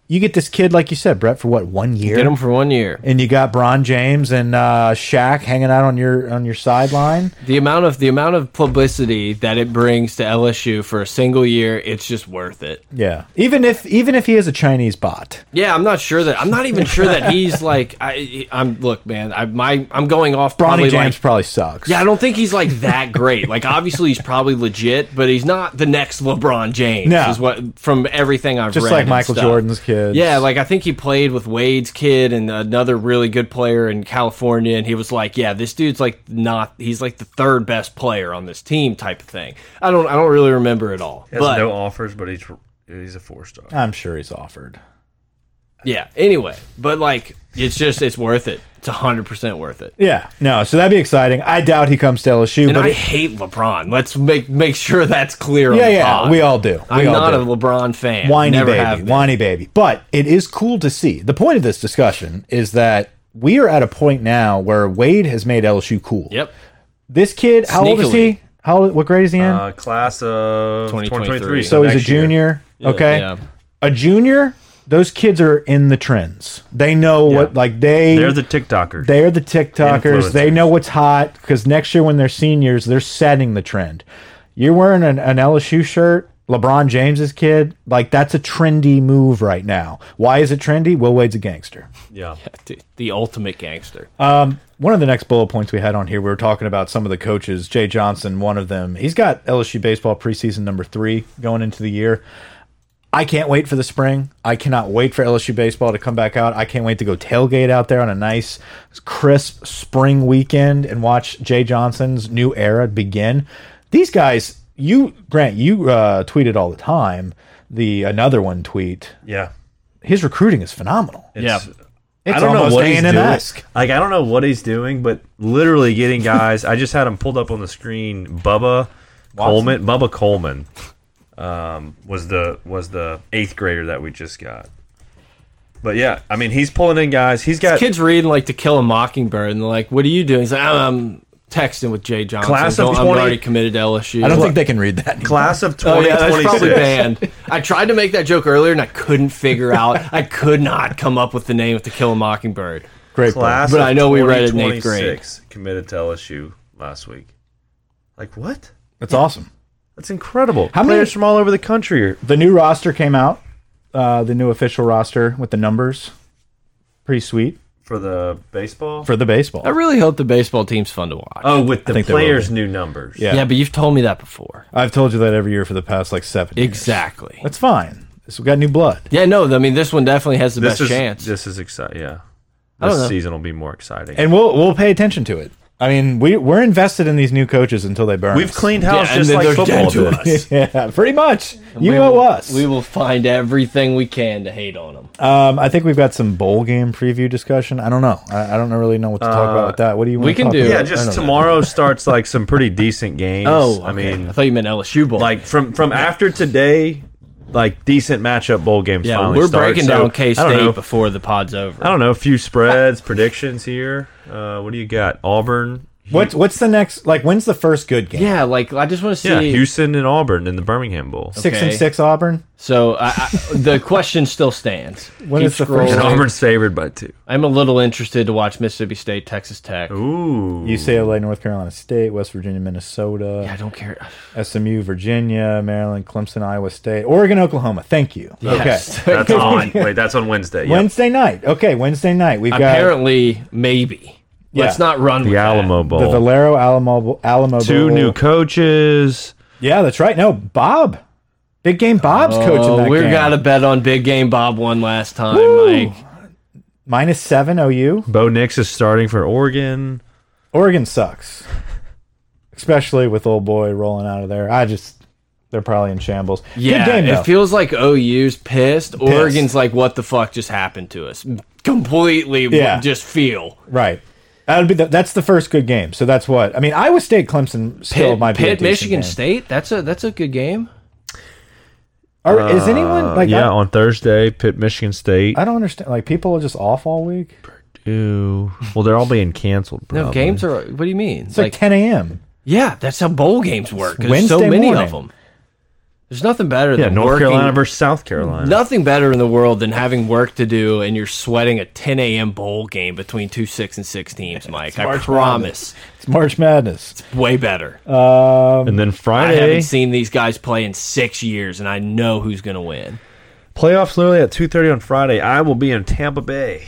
[SPEAKER 2] you get this kid, like you said, Brett, for what one year?
[SPEAKER 1] Get him for one year.
[SPEAKER 2] and you got Bron James and uh, Shaq hanging out on your on your sideline.
[SPEAKER 1] The amount of the amount of publicity that it brings to LSU for a single year, it's just worth it.
[SPEAKER 2] Yeah, even if even if he is a Chinese bot,
[SPEAKER 1] Yeah, I'm not sure that I'm not even sure that he's like I I'm look, man, I my I'm going off
[SPEAKER 2] Bronny
[SPEAKER 1] probably
[SPEAKER 2] James
[SPEAKER 1] like
[SPEAKER 2] probably sucks.
[SPEAKER 1] yeah, I don't think he's like that great. Like, obviously, he's probably legit, but he's not the next LeBron James.
[SPEAKER 2] No.
[SPEAKER 1] is what from everything I've
[SPEAKER 2] just
[SPEAKER 1] read
[SPEAKER 2] like
[SPEAKER 1] and
[SPEAKER 2] Michael
[SPEAKER 1] stuff.
[SPEAKER 2] Jordan's kids.
[SPEAKER 1] Yeah, like I think he played with Wade's kid and another really good player in California, and he was like, "Yeah, this dude's like not. He's like the third best player on this team, type of thing." I don't, I don't really remember it all,
[SPEAKER 3] He has
[SPEAKER 1] but
[SPEAKER 3] no offers, but he's he's a four star.
[SPEAKER 2] I'm sure he's offered.
[SPEAKER 1] yeah. Anyway, but like, it's just it's worth it. It's hundred percent worth it.
[SPEAKER 2] Yeah, no, so that'd be exciting. I doubt he comes to LSU,
[SPEAKER 1] And
[SPEAKER 2] but
[SPEAKER 1] I
[SPEAKER 2] it-
[SPEAKER 1] hate LeBron. Let's make make sure that's clear.
[SPEAKER 2] yeah,
[SPEAKER 1] on
[SPEAKER 2] yeah,
[SPEAKER 1] the pod.
[SPEAKER 2] we all do. We
[SPEAKER 1] I'm
[SPEAKER 2] all
[SPEAKER 1] not
[SPEAKER 2] do.
[SPEAKER 1] a LeBron fan.
[SPEAKER 2] whiny
[SPEAKER 1] Never have
[SPEAKER 2] baby,
[SPEAKER 1] been.
[SPEAKER 2] whiny baby. But it is cool to see. The point of this discussion is that we are at a point now where Wade has made LSU cool.
[SPEAKER 1] Yep.
[SPEAKER 2] This kid, how old is
[SPEAKER 1] Sneakily.
[SPEAKER 2] he? How old, what grade is he in?
[SPEAKER 3] Uh, class of
[SPEAKER 1] 2023.
[SPEAKER 3] 2023.
[SPEAKER 2] so he's a
[SPEAKER 3] next year.
[SPEAKER 2] junior. Okay,
[SPEAKER 1] yeah.
[SPEAKER 2] a junior. Those kids are in the trends. They know what like they
[SPEAKER 3] They're the TikTokers.
[SPEAKER 2] they are the TikTokers.
[SPEAKER 3] Influencers.
[SPEAKER 2] They know what's hot because next year when they're seniors, they're setting the trend. You're wearing an, an LSU shirt, LeBron James's kid. Like that's a trendy move right now. Why is it trendy? Will Wade's a gangster.
[SPEAKER 3] yeah.
[SPEAKER 1] The- The ultimate gangster.
[SPEAKER 2] One of the next bullet points we had on here, we were talking about some of the coaches. Jay Johnson, one of them. He's got LSU baseball preseason number three going into the year. I can't wait for the spring. I cannot wait for LSU baseball to come back out. I can't wait to go tailgate out there on a nice, crisp spring weekend and watch Jay Johnson's new era begin. These guys, you Grant, you uh, tweeted all the time. The another one tweet.
[SPEAKER 3] Yeah.
[SPEAKER 2] His recruiting is phenomenal.
[SPEAKER 1] yeah.
[SPEAKER 2] It's
[SPEAKER 3] I don't know
[SPEAKER 2] almost
[SPEAKER 3] what he's doing.
[SPEAKER 2] A&M-esque.
[SPEAKER 3] Like I don't know what he's doing, but literally getting guys. I just had him pulled up on the screen. Bubba Coleman. Bubba Coleman um, was the was the eighth grader that we just got. But yeah, I mean, he's pulling in guys. He's got
[SPEAKER 1] kids reading like To Kill a Mockingbird, and they're like, "What are you doing?" He's like, "I'm, I'm texting with Jay Johnson.
[SPEAKER 3] Class of
[SPEAKER 1] Don't- I'm
[SPEAKER 3] 20
[SPEAKER 1] already committed to LSU."
[SPEAKER 2] I don't think they can read that. anymore.
[SPEAKER 3] class of
[SPEAKER 1] Oh
[SPEAKER 3] twenty
[SPEAKER 1] yeah, that's
[SPEAKER 3] twenty
[SPEAKER 1] probably
[SPEAKER 3] six.
[SPEAKER 1] banned. I tried to make that joke earlier, and I couldn't figure out. I could not come up with the name of To Kill a Mockingbird.
[SPEAKER 2] Great point.
[SPEAKER 3] Class,
[SPEAKER 1] But
[SPEAKER 3] of
[SPEAKER 1] I know we read it in eighth
[SPEAKER 3] 2026 Committed to LSU last week. Like what?
[SPEAKER 2] That's awesome.
[SPEAKER 3] That's incredible.
[SPEAKER 2] How many-
[SPEAKER 3] Players from all over the country are
[SPEAKER 2] The new roster came out, uh, the new official roster with the numbers. Pretty sweet
[SPEAKER 3] for the baseball.
[SPEAKER 2] for the baseball.
[SPEAKER 1] I really hope the baseball team's fun to watch.
[SPEAKER 3] oh, with the
[SPEAKER 2] think they will
[SPEAKER 3] players' new numbers.
[SPEAKER 2] Yeah.
[SPEAKER 1] yeah, but you've told me that before.
[SPEAKER 2] I've told you that every year for the past like seven. years.
[SPEAKER 1] Exactly.
[SPEAKER 2] That's fine. So we got new blood.
[SPEAKER 1] Yeah, no. I mean, this one definitely has the best
[SPEAKER 3] is,
[SPEAKER 1] chance.
[SPEAKER 3] This is exciting. Yeah,
[SPEAKER 1] don't know.
[SPEAKER 3] this season will be more exciting.
[SPEAKER 2] And we'll we'll pay attention to it. I mean, we we're invested in these new coaches until they burn.
[SPEAKER 3] We've
[SPEAKER 2] us.
[SPEAKER 3] cleaned
[SPEAKER 1] yeah,
[SPEAKER 3] house
[SPEAKER 1] and
[SPEAKER 3] just
[SPEAKER 1] then
[SPEAKER 3] like
[SPEAKER 1] they're
[SPEAKER 3] football
[SPEAKER 1] dead to
[SPEAKER 3] did.
[SPEAKER 1] us.
[SPEAKER 2] Yeah, pretty much. You
[SPEAKER 1] We
[SPEAKER 2] owe
[SPEAKER 1] will-
[SPEAKER 2] us.
[SPEAKER 1] We will find everything we can to hate on them.
[SPEAKER 2] um, I think we've got some bowl game preview discussion. I don't know. I, I don't really know what to talk about with that. What do you? wanna
[SPEAKER 1] can
[SPEAKER 2] talk
[SPEAKER 1] do-
[SPEAKER 2] about?
[SPEAKER 3] Yeah,
[SPEAKER 1] I
[SPEAKER 2] I
[SPEAKER 3] just
[SPEAKER 2] don't know.
[SPEAKER 3] tomorrow starts like some pretty decent games.
[SPEAKER 1] Oh,
[SPEAKER 3] I
[SPEAKER 1] okay.
[SPEAKER 3] mean,
[SPEAKER 1] I thought you meant LSU bowl.
[SPEAKER 3] like from from after today, like decent matchup bowl games.
[SPEAKER 1] yeah,
[SPEAKER 3] finally
[SPEAKER 1] we're
[SPEAKER 3] start.
[SPEAKER 1] breaking
[SPEAKER 3] So,
[SPEAKER 1] down K
[SPEAKER 3] I don't know.
[SPEAKER 1] State before the pod's over.
[SPEAKER 3] I don't know. A few spreads, predictions here. Uh, what do you got? Auburn.
[SPEAKER 2] What's what's the next? Like, when's the first good game?
[SPEAKER 1] Yeah, like I just want to see.
[SPEAKER 3] Yeah, Houston and Auburn in the Birmingham Bowl.
[SPEAKER 2] Six and
[SPEAKER 1] okay.
[SPEAKER 2] six Auburn.
[SPEAKER 1] So I, I, the question still stands.
[SPEAKER 2] When
[SPEAKER 1] Keep
[SPEAKER 2] is the
[SPEAKER 1] scrolling.
[SPEAKER 2] first-
[SPEAKER 3] And Auburn's favored by two.
[SPEAKER 1] I'm a little interested to watch Mississippi State, Texas Tech.
[SPEAKER 3] Ooh,
[SPEAKER 2] UCLA, North Carolina State, West Virginia, Minnesota,
[SPEAKER 1] I don't care.
[SPEAKER 2] SMU, Virginia, Maryland, Clemson, Iowa State, Oregon, Oklahoma. Thank you.
[SPEAKER 1] Yes.
[SPEAKER 2] Okay.
[SPEAKER 3] that's on. Wait, that's on Wednesday. Yep.
[SPEAKER 2] Wednesday night. Okay, Wednesday night. We've got
[SPEAKER 1] Apparently, maybe. Let's
[SPEAKER 2] Yeah.
[SPEAKER 1] not run with
[SPEAKER 3] the Alamo Bowl.
[SPEAKER 2] the Valero Alamo Alamo
[SPEAKER 3] two
[SPEAKER 2] Bowl.
[SPEAKER 3] new coaches.
[SPEAKER 2] Yeah, that's right. No, Bob. Big game Bob's
[SPEAKER 1] That.
[SPEAKER 2] coaching
[SPEAKER 1] Oh,
[SPEAKER 2] that
[SPEAKER 1] we're
[SPEAKER 2] game.
[SPEAKER 1] gotta bet on big game. Bob won last time,
[SPEAKER 2] Woo!
[SPEAKER 1] Mike.
[SPEAKER 2] Minus seven OU.
[SPEAKER 3] Bo Nix is starting for Oregon.
[SPEAKER 2] Oregon sucks. Especially with old boy rolling out of there. I just they're probably in shambles.
[SPEAKER 1] Yeah,
[SPEAKER 2] Good game though.
[SPEAKER 1] it feels like OU's pissed. Oregon's like, what the fuck just happened to us? Completely,
[SPEAKER 2] Yeah.
[SPEAKER 1] just feel.
[SPEAKER 2] right. That'd be the, that's the first good game. So that's what I mean. Iowa State, Clemson, still
[SPEAKER 1] Pitt,
[SPEAKER 2] might be a
[SPEAKER 1] Pitt
[SPEAKER 2] decent
[SPEAKER 1] Michigan
[SPEAKER 2] game.
[SPEAKER 1] State. That's a that's a good game.
[SPEAKER 2] Are, is anyone like?
[SPEAKER 3] yeah,
[SPEAKER 2] I,
[SPEAKER 3] on Thursday, Pitt, Michigan State.
[SPEAKER 2] I don't understand. Like people are just off all week.
[SPEAKER 3] Ew. Well, they're all being canceled. Probably.
[SPEAKER 1] No games are. What do you mean?
[SPEAKER 2] It's like, 10 a.m.
[SPEAKER 1] yeah, that's how bowl games work. 'cause There's
[SPEAKER 2] Wednesday
[SPEAKER 1] so many of
[SPEAKER 2] morning.
[SPEAKER 1] them. There's nothing better
[SPEAKER 3] Yeah,
[SPEAKER 1] than
[SPEAKER 3] North
[SPEAKER 1] working,
[SPEAKER 3] Carolina versus South Carolina.
[SPEAKER 1] Nothing better in the world than having work to do and you're sweating a 10 a.m. bowl game between two six and six teams, Mike. I
[SPEAKER 2] March
[SPEAKER 1] promise.
[SPEAKER 2] It's March Madness.
[SPEAKER 1] Way better.
[SPEAKER 2] Um,
[SPEAKER 3] And then
[SPEAKER 1] I
[SPEAKER 3] Friday
[SPEAKER 1] haven't seen these guys play in six years, and I know who's going to win.
[SPEAKER 3] playoffs literally at two thirty on Friday. I will be in Tampa Bay.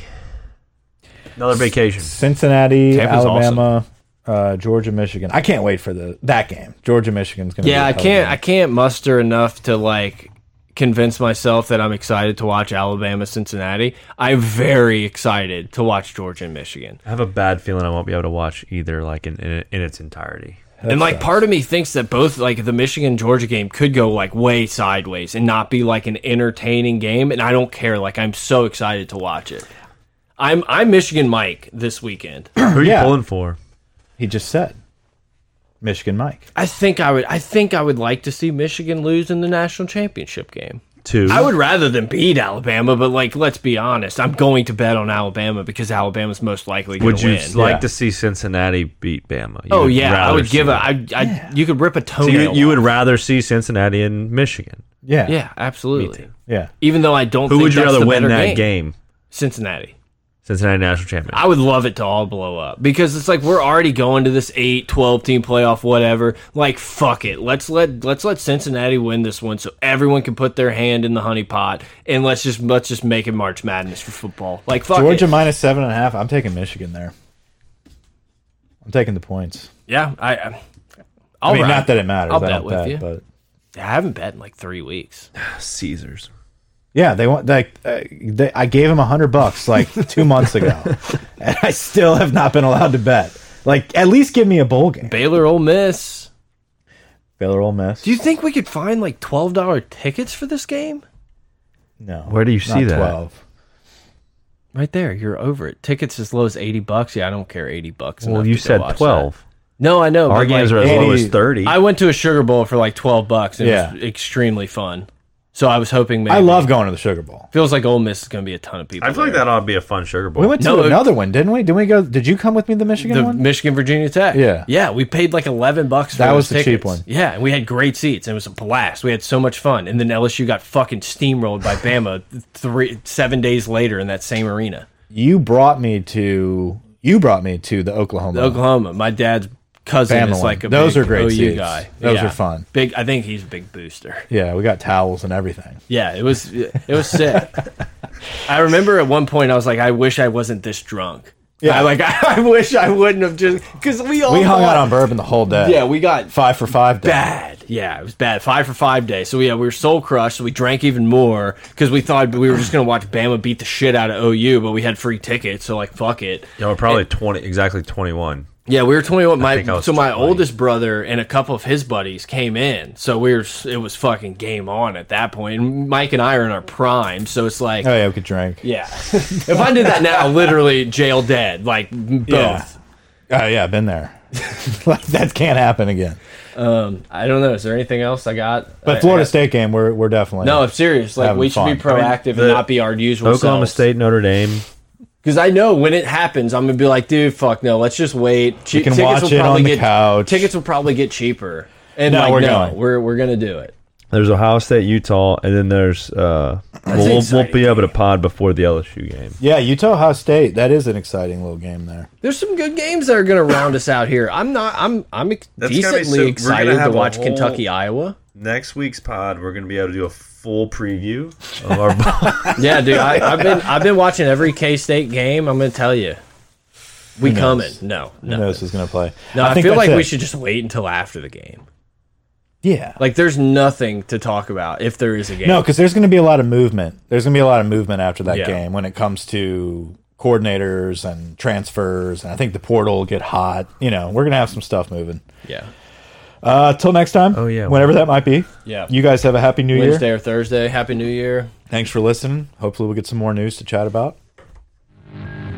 [SPEAKER 3] Another vacation.
[SPEAKER 2] Cincinnati,
[SPEAKER 1] Tampa's
[SPEAKER 2] Alabama, uh, Georgia, Michigan. I can't wait for the that game. Georgia, Michigan's gonna.
[SPEAKER 1] Yeah,
[SPEAKER 2] be a
[SPEAKER 1] I
[SPEAKER 2] hell of a
[SPEAKER 1] can't.
[SPEAKER 2] game.
[SPEAKER 1] I can't muster enough to like convince myself that I'm excited to watch Alabama Cincinnati. I'm very excited to watch Georgia and Michigan.
[SPEAKER 3] I have a bad feeling I won't be able to watch either, like in in, in its entirety.
[SPEAKER 1] and like part of me thinks that both like the Michigan Georgia game could go like way sideways and not be like an entertaining game and I don't care like I'm so excited to watch it. I'm I'm Michigan Mike this weekend.
[SPEAKER 3] Who are you
[SPEAKER 2] Yeah.
[SPEAKER 3] pulling for?
[SPEAKER 2] He just said Michigan, Mike.
[SPEAKER 1] I think I would I think I would like to see Michigan lose in the national championship game.
[SPEAKER 3] Two.
[SPEAKER 1] I would rather than beat Alabama, but like let's be honest, I'm going to bet on Alabama because Alabama's most likely going
[SPEAKER 3] Would
[SPEAKER 1] to
[SPEAKER 3] you
[SPEAKER 1] win.
[SPEAKER 3] like
[SPEAKER 2] Yeah.
[SPEAKER 3] to see Cincinnati beat Bama? You
[SPEAKER 1] oh
[SPEAKER 3] would
[SPEAKER 1] yeah, I
[SPEAKER 3] rather
[SPEAKER 1] would give
[SPEAKER 3] see
[SPEAKER 1] a
[SPEAKER 3] that.
[SPEAKER 1] I, I you could rip a
[SPEAKER 3] So
[SPEAKER 1] toenail.
[SPEAKER 3] you, you would
[SPEAKER 1] off.
[SPEAKER 3] rather see Cincinnati and Michigan.
[SPEAKER 2] Yeah,
[SPEAKER 1] yeah, absolutely.
[SPEAKER 2] yeah.
[SPEAKER 1] Even though I don't
[SPEAKER 3] Who
[SPEAKER 1] think
[SPEAKER 3] would you
[SPEAKER 1] that's
[SPEAKER 3] rather
[SPEAKER 1] the
[SPEAKER 3] win
[SPEAKER 1] better
[SPEAKER 3] that
[SPEAKER 1] game.
[SPEAKER 3] game?
[SPEAKER 1] Cincinnati.
[SPEAKER 3] Cincinnati national champion.
[SPEAKER 1] I would love it to all blow up because it's like we're already going to this 8 12 team playoff whatever. Like fuck it. Let's let let's let Cincinnati win this one so everyone can put their hand in the honey pot and let's just let's just make it March Madness for football. Like fuck
[SPEAKER 2] Georgia
[SPEAKER 1] it.
[SPEAKER 2] minus seven and a half. I'm taking Michigan there. I'm taking the points.
[SPEAKER 1] Yeah, I I,
[SPEAKER 2] I
[SPEAKER 1] I'll
[SPEAKER 2] mean,
[SPEAKER 1] ride.
[SPEAKER 2] not that it matters.
[SPEAKER 1] I'll
[SPEAKER 2] I don't
[SPEAKER 1] bet with
[SPEAKER 2] bet,
[SPEAKER 1] you.
[SPEAKER 2] but
[SPEAKER 1] I haven't bet in like 3 weeks.
[SPEAKER 3] Ah, Caesars.
[SPEAKER 2] yeah, they want like uh, they, I gave him a hundred bucks like two months ago, and I still have not been allowed to bet. Like, at least give me a bowl game.
[SPEAKER 1] Baylor Ole Miss.
[SPEAKER 2] Baylor Ole Miss.
[SPEAKER 1] Do you think we could find like $12 tickets for this game?
[SPEAKER 2] no.
[SPEAKER 3] Where do you see
[SPEAKER 2] not
[SPEAKER 3] that?
[SPEAKER 2] Twelve.
[SPEAKER 1] Right there, you're over it. Tickets as low as 80 bucks. Yeah, I don't care 80 bucks.
[SPEAKER 3] Well,
[SPEAKER 1] enough
[SPEAKER 3] you
[SPEAKER 1] to go
[SPEAKER 3] said
[SPEAKER 1] watch that.
[SPEAKER 3] twelve.
[SPEAKER 1] No, I know.
[SPEAKER 3] Our
[SPEAKER 1] but,
[SPEAKER 3] games
[SPEAKER 1] like,
[SPEAKER 3] are as low as
[SPEAKER 2] 80.
[SPEAKER 3] thirty.
[SPEAKER 1] I went to a Sugar Bowl for like twelve bucks. And It
[SPEAKER 2] Yeah.
[SPEAKER 1] was extremely fun. So I was hoping. Maybe.
[SPEAKER 2] I love going to the Sugar Bowl.
[SPEAKER 1] Feels like Ole Miss is going to be a ton of people.
[SPEAKER 3] I feel like
[SPEAKER 1] there.
[SPEAKER 3] that ought to be a fun Sugar Bowl.
[SPEAKER 2] We went to
[SPEAKER 1] No, it-
[SPEAKER 2] another one, didn't we? Did we go? Did you come with me to the Michigan
[SPEAKER 1] The
[SPEAKER 2] one?
[SPEAKER 1] Michigan Virginia Tech.
[SPEAKER 2] Yeah.
[SPEAKER 1] yeah. We paid like eleven bucks. for
[SPEAKER 2] That
[SPEAKER 1] those
[SPEAKER 2] was the cheap
[SPEAKER 1] tickets.
[SPEAKER 2] one.
[SPEAKER 1] Yeah, and we had great seats. It was a blast. We had so much fun. And then LSU got fucking steamrolled by Bama three seven days later in that same arena,
[SPEAKER 2] You brought me to. You brought me to the Oklahoma.
[SPEAKER 1] Oklahoma. My dad's cousin
[SPEAKER 2] Bama
[SPEAKER 1] is
[SPEAKER 2] one.
[SPEAKER 1] like a
[SPEAKER 2] Those
[SPEAKER 1] big
[SPEAKER 2] are great
[SPEAKER 1] OU
[SPEAKER 2] seats.
[SPEAKER 1] guy.
[SPEAKER 2] Those
[SPEAKER 1] Yeah.
[SPEAKER 2] are fun.
[SPEAKER 1] Big. I think he's a big booster.
[SPEAKER 2] Yeah, we got towels and everything.
[SPEAKER 1] Yeah, it was it was sick. I remember at one point I was like, I wish I wasn't this drunk. Yeah,
[SPEAKER 2] Yeah.
[SPEAKER 1] like I, I wish I wouldn't have just because we all
[SPEAKER 2] We hung
[SPEAKER 1] got-
[SPEAKER 2] out on bourbon the whole day.
[SPEAKER 1] Oh, Yeah, we got
[SPEAKER 2] five for five. Day.
[SPEAKER 1] bad. Yeah, it was bad. Five for five day. So yeah, we were soul crushed. So we drank even more because we thought we were just gonna watch Bama beat the shit out of OU, but we had free tickets, so like fuck it.
[SPEAKER 3] Yeah, we're probably twenty, exactly twenty-one.
[SPEAKER 1] Yeah, we were 21. My
[SPEAKER 3] think I was
[SPEAKER 1] so my
[SPEAKER 3] 20.
[SPEAKER 1] oldest brother and a couple of his buddies came in. So we were it was fucking game on at that point. And Mike and I are in our prime, so it's like
[SPEAKER 2] Oh yeah, we could drink.
[SPEAKER 1] Yeah. if I did that now, literally jail dead. Like both.
[SPEAKER 2] Yeah. Oh yeah, been there. like that can't happen again.
[SPEAKER 1] Um, I don't know. Is there anything else I got?
[SPEAKER 2] But
[SPEAKER 1] I-
[SPEAKER 2] Florida
[SPEAKER 1] I-
[SPEAKER 2] State game, we're we're definitely
[SPEAKER 1] No, I'm serious. Like
[SPEAKER 2] Having
[SPEAKER 1] we should
[SPEAKER 2] fun.
[SPEAKER 1] be proactive
[SPEAKER 3] The-
[SPEAKER 1] and not be our usual
[SPEAKER 3] Oklahoma State, Notre Dame.
[SPEAKER 1] Because I know when it happens, I'm gonna be like, dude, fuck no. Let's just wait. Che-
[SPEAKER 2] We can watch it on the
[SPEAKER 1] get,
[SPEAKER 2] couch.
[SPEAKER 1] Tickets will probably get cheaper. And
[SPEAKER 2] No,
[SPEAKER 1] like,
[SPEAKER 2] we're
[SPEAKER 1] no,
[SPEAKER 2] going.
[SPEAKER 1] we're we're gonna do it.
[SPEAKER 3] There's Ohio State, Utah, and then there's. Uh, well, we'll, we'll
[SPEAKER 1] exciting.
[SPEAKER 3] be able to pod before the LSU game.
[SPEAKER 2] Yeah, Utah Ohio State. That is an exciting little game there.
[SPEAKER 1] There's some good games that are gonna round us out here. I'm not. I'm I'm ex-
[SPEAKER 3] That's gotta be
[SPEAKER 1] decently
[SPEAKER 3] so- we're gonna
[SPEAKER 1] excited to
[SPEAKER 3] have a
[SPEAKER 1] watch
[SPEAKER 3] whole-
[SPEAKER 1] Kentucky Iowa.
[SPEAKER 3] Next week's pod, we're going to be able to do a full preview of our.
[SPEAKER 1] Yeah, dude, I, I've been I've been watching every K State game. I'm gonna tell you, we coming. No,
[SPEAKER 2] Who
[SPEAKER 1] no,
[SPEAKER 2] knows who's going to play?
[SPEAKER 1] no. I,
[SPEAKER 2] think
[SPEAKER 1] feel
[SPEAKER 2] that's
[SPEAKER 1] like we
[SPEAKER 2] it.
[SPEAKER 1] should just wait until after the game.
[SPEAKER 2] Yeah.
[SPEAKER 1] Like, there's nothing to talk about if there is a game.
[SPEAKER 2] No, because there's going to be a lot of movement. There's going to be a lot of movement after that
[SPEAKER 1] Yeah.
[SPEAKER 2] game when it comes to coordinators and transfers, and I think the portal will get hot. You know, we're going to have some stuff moving.
[SPEAKER 1] Yeah,
[SPEAKER 2] Uh, till next time.
[SPEAKER 3] Oh, yeah.
[SPEAKER 2] whenever that might be.
[SPEAKER 1] Yeah.
[SPEAKER 2] You guys have a happy New
[SPEAKER 1] Wednesday
[SPEAKER 2] Year.
[SPEAKER 1] or Thursday. Happy New Year.
[SPEAKER 2] Thanks for listening. Hopefully, we'll get some more news to chat about.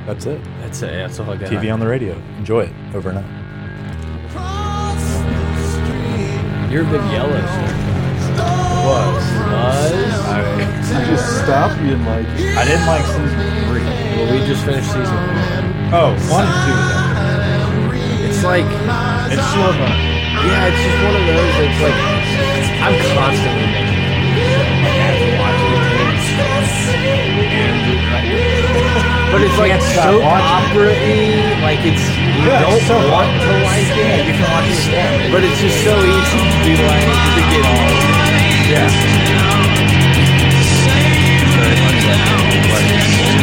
[SPEAKER 2] That's it.
[SPEAKER 1] That's it. That's all I got.
[SPEAKER 2] TV on the radio. Enjoy it over and out.
[SPEAKER 1] You're a big Yellowstone.
[SPEAKER 3] Was.
[SPEAKER 1] Buzz.
[SPEAKER 4] You just stop being like,
[SPEAKER 2] I didn't like season.
[SPEAKER 1] Well, we just finished season one.
[SPEAKER 2] Oh, one and
[SPEAKER 1] It's like,
[SPEAKER 2] two. It's Shlomo.
[SPEAKER 1] yeah, it's just one of those. It's like I'm constantly making. But it's like
[SPEAKER 2] can't stop
[SPEAKER 1] soap
[SPEAKER 2] watching
[SPEAKER 1] opera y. Like it's you
[SPEAKER 2] Yeah,
[SPEAKER 1] don't
[SPEAKER 2] it's so
[SPEAKER 1] want to like it. You can watch it But it's just so easy to be like to get all. Yeah.
[SPEAKER 3] Very much like that.